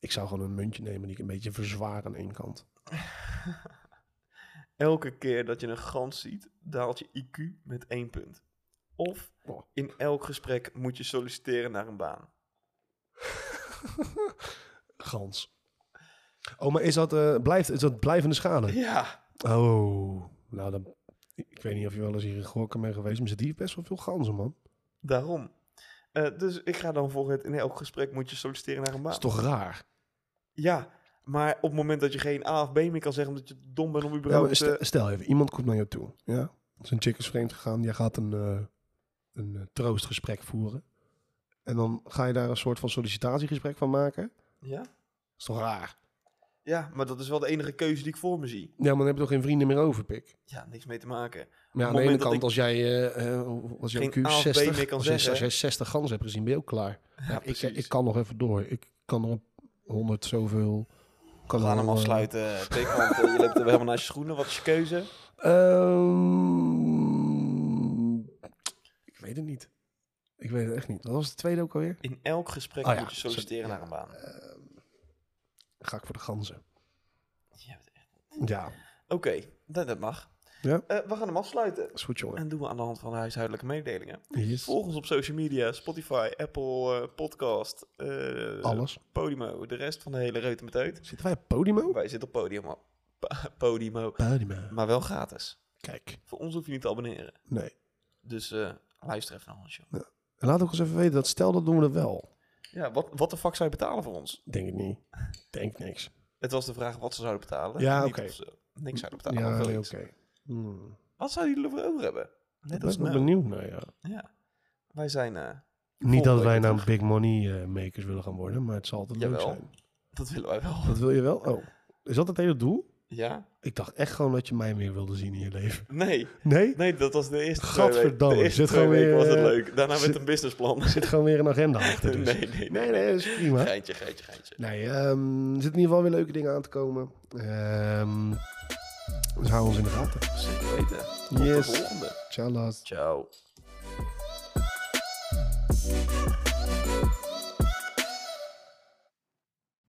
[SPEAKER 1] Ik zou gewoon een muntje nemen die ik een beetje verzwaar aan één kant.
[SPEAKER 2] Elke keer dat je een gans ziet, daalt je IQ met één punt. Of
[SPEAKER 1] Oh.
[SPEAKER 2] in elk gesprek moet je solliciteren naar een baan.
[SPEAKER 1] Gans. Oh, maar is dat, eh, blijft, is dat blijvende schade?
[SPEAKER 2] Ja,
[SPEAKER 1] Oh, nou dan... Ik weet niet of je wel eens hier in Gorkum bent geweest, maar zit hier best wel veel ganzen, man.
[SPEAKER 2] daarom. Eh, dus ik ga dan voor het in elk gesprek moet je solliciteren naar een
[SPEAKER 1] Dat is
[SPEAKER 2] baan.
[SPEAKER 1] toch raar?
[SPEAKER 2] Ja, maar op het moment dat je geen A of B meer kan zeggen omdat je dom bent om
[SPEAKER 1] Ja, maar
[SPEAKER 2] überhaupt...
[SPEAKER 1] stel,
[SPEAKER 2] Ja, eh,
[SPEAKER 1] stel even, iemand komt naar jou toe. Ja? Zijn chick is vreemd gegaan, jij gaat een, eh, een eh, troostgesprek voeren. En dan ga je daar een soort van sollicitatiegesprek van maken. Dat
[SPEAKER 2] eh, ja?
[SPEAKER 1] is toch raar?
[SPEAKER 2] Ja, maar dat is wel de enige keuze die ik voor me zie.
[SPEAKER 1] Ja, maar dan heb je toch geen vrienden meer over, pik?
[SPEAKER 2] Ja, niks mee te maken.
[SPEAKER 1] Maar ja, aan de
[SPEAKER 2] Op het
[SPEAKER 1] ene
[SPEAKER 2] moment dat
[SPEAKER 1] kant,
[SPEAKER 2] ik-
[SPEAKER 1] als jij, eh, eh, als jij
[SPEAKER 2] Geen
[SPEAKER 1] Q
[SPEAKER 2] A of B
[SPEAKER 1] 60,
[SPEAKER 2] meer kan
[SPEAKER 1] als, jij,
[SPEAKER 2] zeggen.
[SPEAKER 1] als jij 60 ganzen hebt gezien, ben je ook klaar.
[SPEAKER 2] Ja,
[SPEAKER 1] ik,
[SPEAKER 2] precies.
[SPEAKER 1] ik kan nog even door. Ik kan er een honderd zoveel. Kan
[SPEAKER 2] We
[SPEAKER 1] er
[SPEAKER 2] gaan
[SPEAKER 1] wel,
[SPEAKER 2] hem
[SPEAKER 1] eh,
[SPEAKER 2] afsluiten. Pik, want eh, je loopt er helemaal naar je schoenen. Wat is je keuze?
[SPEAKER 1] Ehm, ik weet het niet. Ik weet het echt niet. Wat was de tweede ook alweer?
[SPEAKER 2] In elk gesprek
[SPEAKER 1] Oh ja,
[SPEAKER 2] moet je solliciteren
[SPEAKER 1] zo-
[SPEAKER 2] naar een baan.
[SPEAKER 1] Ga ik voor de ganzen.
[SPEAKER 2] Ja, wat echt.
[SPEAKER 1] Ja,
[SPEAKER 2] Oké, dat, dat mag.
[SPEAKER 1] Ja.
[SPEAKER 2] Eh, we gaan hem afsluiten.
[SPEAKER 1] is goed jongen.
[SPEAKER 2] En doen we aan de hand van de huishoudelijke mededelingen.
[SPEAKER 1] Yes.
[SPEAKER 2] Volg ons op social media, Spotify, Apple eh, Podcast, eh,
[SPEAKER 1] Alles.
[SPEAKER 2] Podimo, de rest van de hele reut met uit.
[SPEAKER 1] Zitten wij op Podimo?
[SPEAKER 2] Wij zitten op Podimo. Pa- Podimo.
[SPEAKER 1] Podimo.
[SPEAKER 2] Maar wel gratis.
[SPEAKER 1] Kijk,
[SPEAKER 2] Voor ons hoef je niet te abonneren.
[SPEAKER 1] nee.
[SPEAKER 2] Dus eh, luister even naar ons, joh.
[SPEAKER 1] En laat ook eens even weten dat stel dat doen we dat wel.
[SPEAKER 2] Ja, wat, wat de fuck zou je betalen voor ons?
[SPEAKER 1] Denk ik niet. Denk niks.
[SPEAKER 2] Het was de vraag wat ze zouden betalen.
[SPEAKER 1] Ja,
[SPEAKER 2] Niet
[SPEAKER 1] oké.
[SPEAKER 2] of ze Niks zouden betalen.
[SPEAKER 1] Ja,
[SPEAKER 2] of wel
[SPEAKER 1] nee,
[SPEAKER 2] iets.
[SPEAKER 1] oké. Hmm.
[SPEAKER 2] Wat zouden jullie ervoor over hebben?
[SPEAKER 1] Ik
[SPEAKER 2] Net
[SPEAKER 1] ben
[SPEAKER 2] als
[SPEAKER 1] wel
[SPEAKER 2] nou.
[SPEAKER 1] benieuwd naar, ja.
[SPEAKER 2] Ja. Wij zijn... eh,
[SPEAKER 1] Niet dat
[SPEAKER 2] Volgende
[SPEAKER 1] wij
[SPEAKER 2] week
[SPEAKER 1] nou
[SPEAKER 2] terug.
[SPEAKER 1] big money eh, makers willen gaan worden, maar het zal altijd leuk
[SPEAKER 2] Jawel.
[SPEAKER 1] zijn.
[SPEAKER 2] dat willen wij wel.
[SPEAKER 1] Dat wil je wel? Oh, is dat het hele doel?
[SPEAKER 2] Ja?
[SPEAKER 1] Ik dacht echt gewoon dat je mij meer wilde zien in je leven.
[SPEAKER 2] Nee.
[SPEAKER 1] Nee?
[SPEAKER 2] Nee, dat was de eerste twee weken.
[SPEAKER 1] Gadverdamme,
[SPEAKER 2] De eerste
[SPEAKER 1] zit
[SPEAKER 2] twee
[SPEAKER 1] gewoon
[SPEAKER 2] weken
[SPEAKER 1] weer,
[SPEAKER 2] was het
[SPEAKER 1] eh,
[SPEAKER 2] leuk. Daarna
[SPEAKER 1] zit-
[SPEAKER 2] met een businessplan.
[SPEAKER 1] Er zit gewoon weer een agenda achter
[SPEAKER 2] nee,
[SPEAKER 1] dus.
[SPEAKER 2] nee, nee.
[SPEAKER 1] Nee, nee, dat is prima.
[SPEAKER 2] Geintje, geintje, geintje.
[SPEAKER 1] Nee, ehm, er zitten in ieder geval weer leuke dingen aan te komen. Ehm dus hou ons in de gaten.
[SPEAKER 2] Zeker weten. Tot
[SPEAKER 1] Yes.
[SPEAKER 2] de volgende.
[SPEAKER 1] Ciao, Lars.
[SPEAKER 2] Ciao.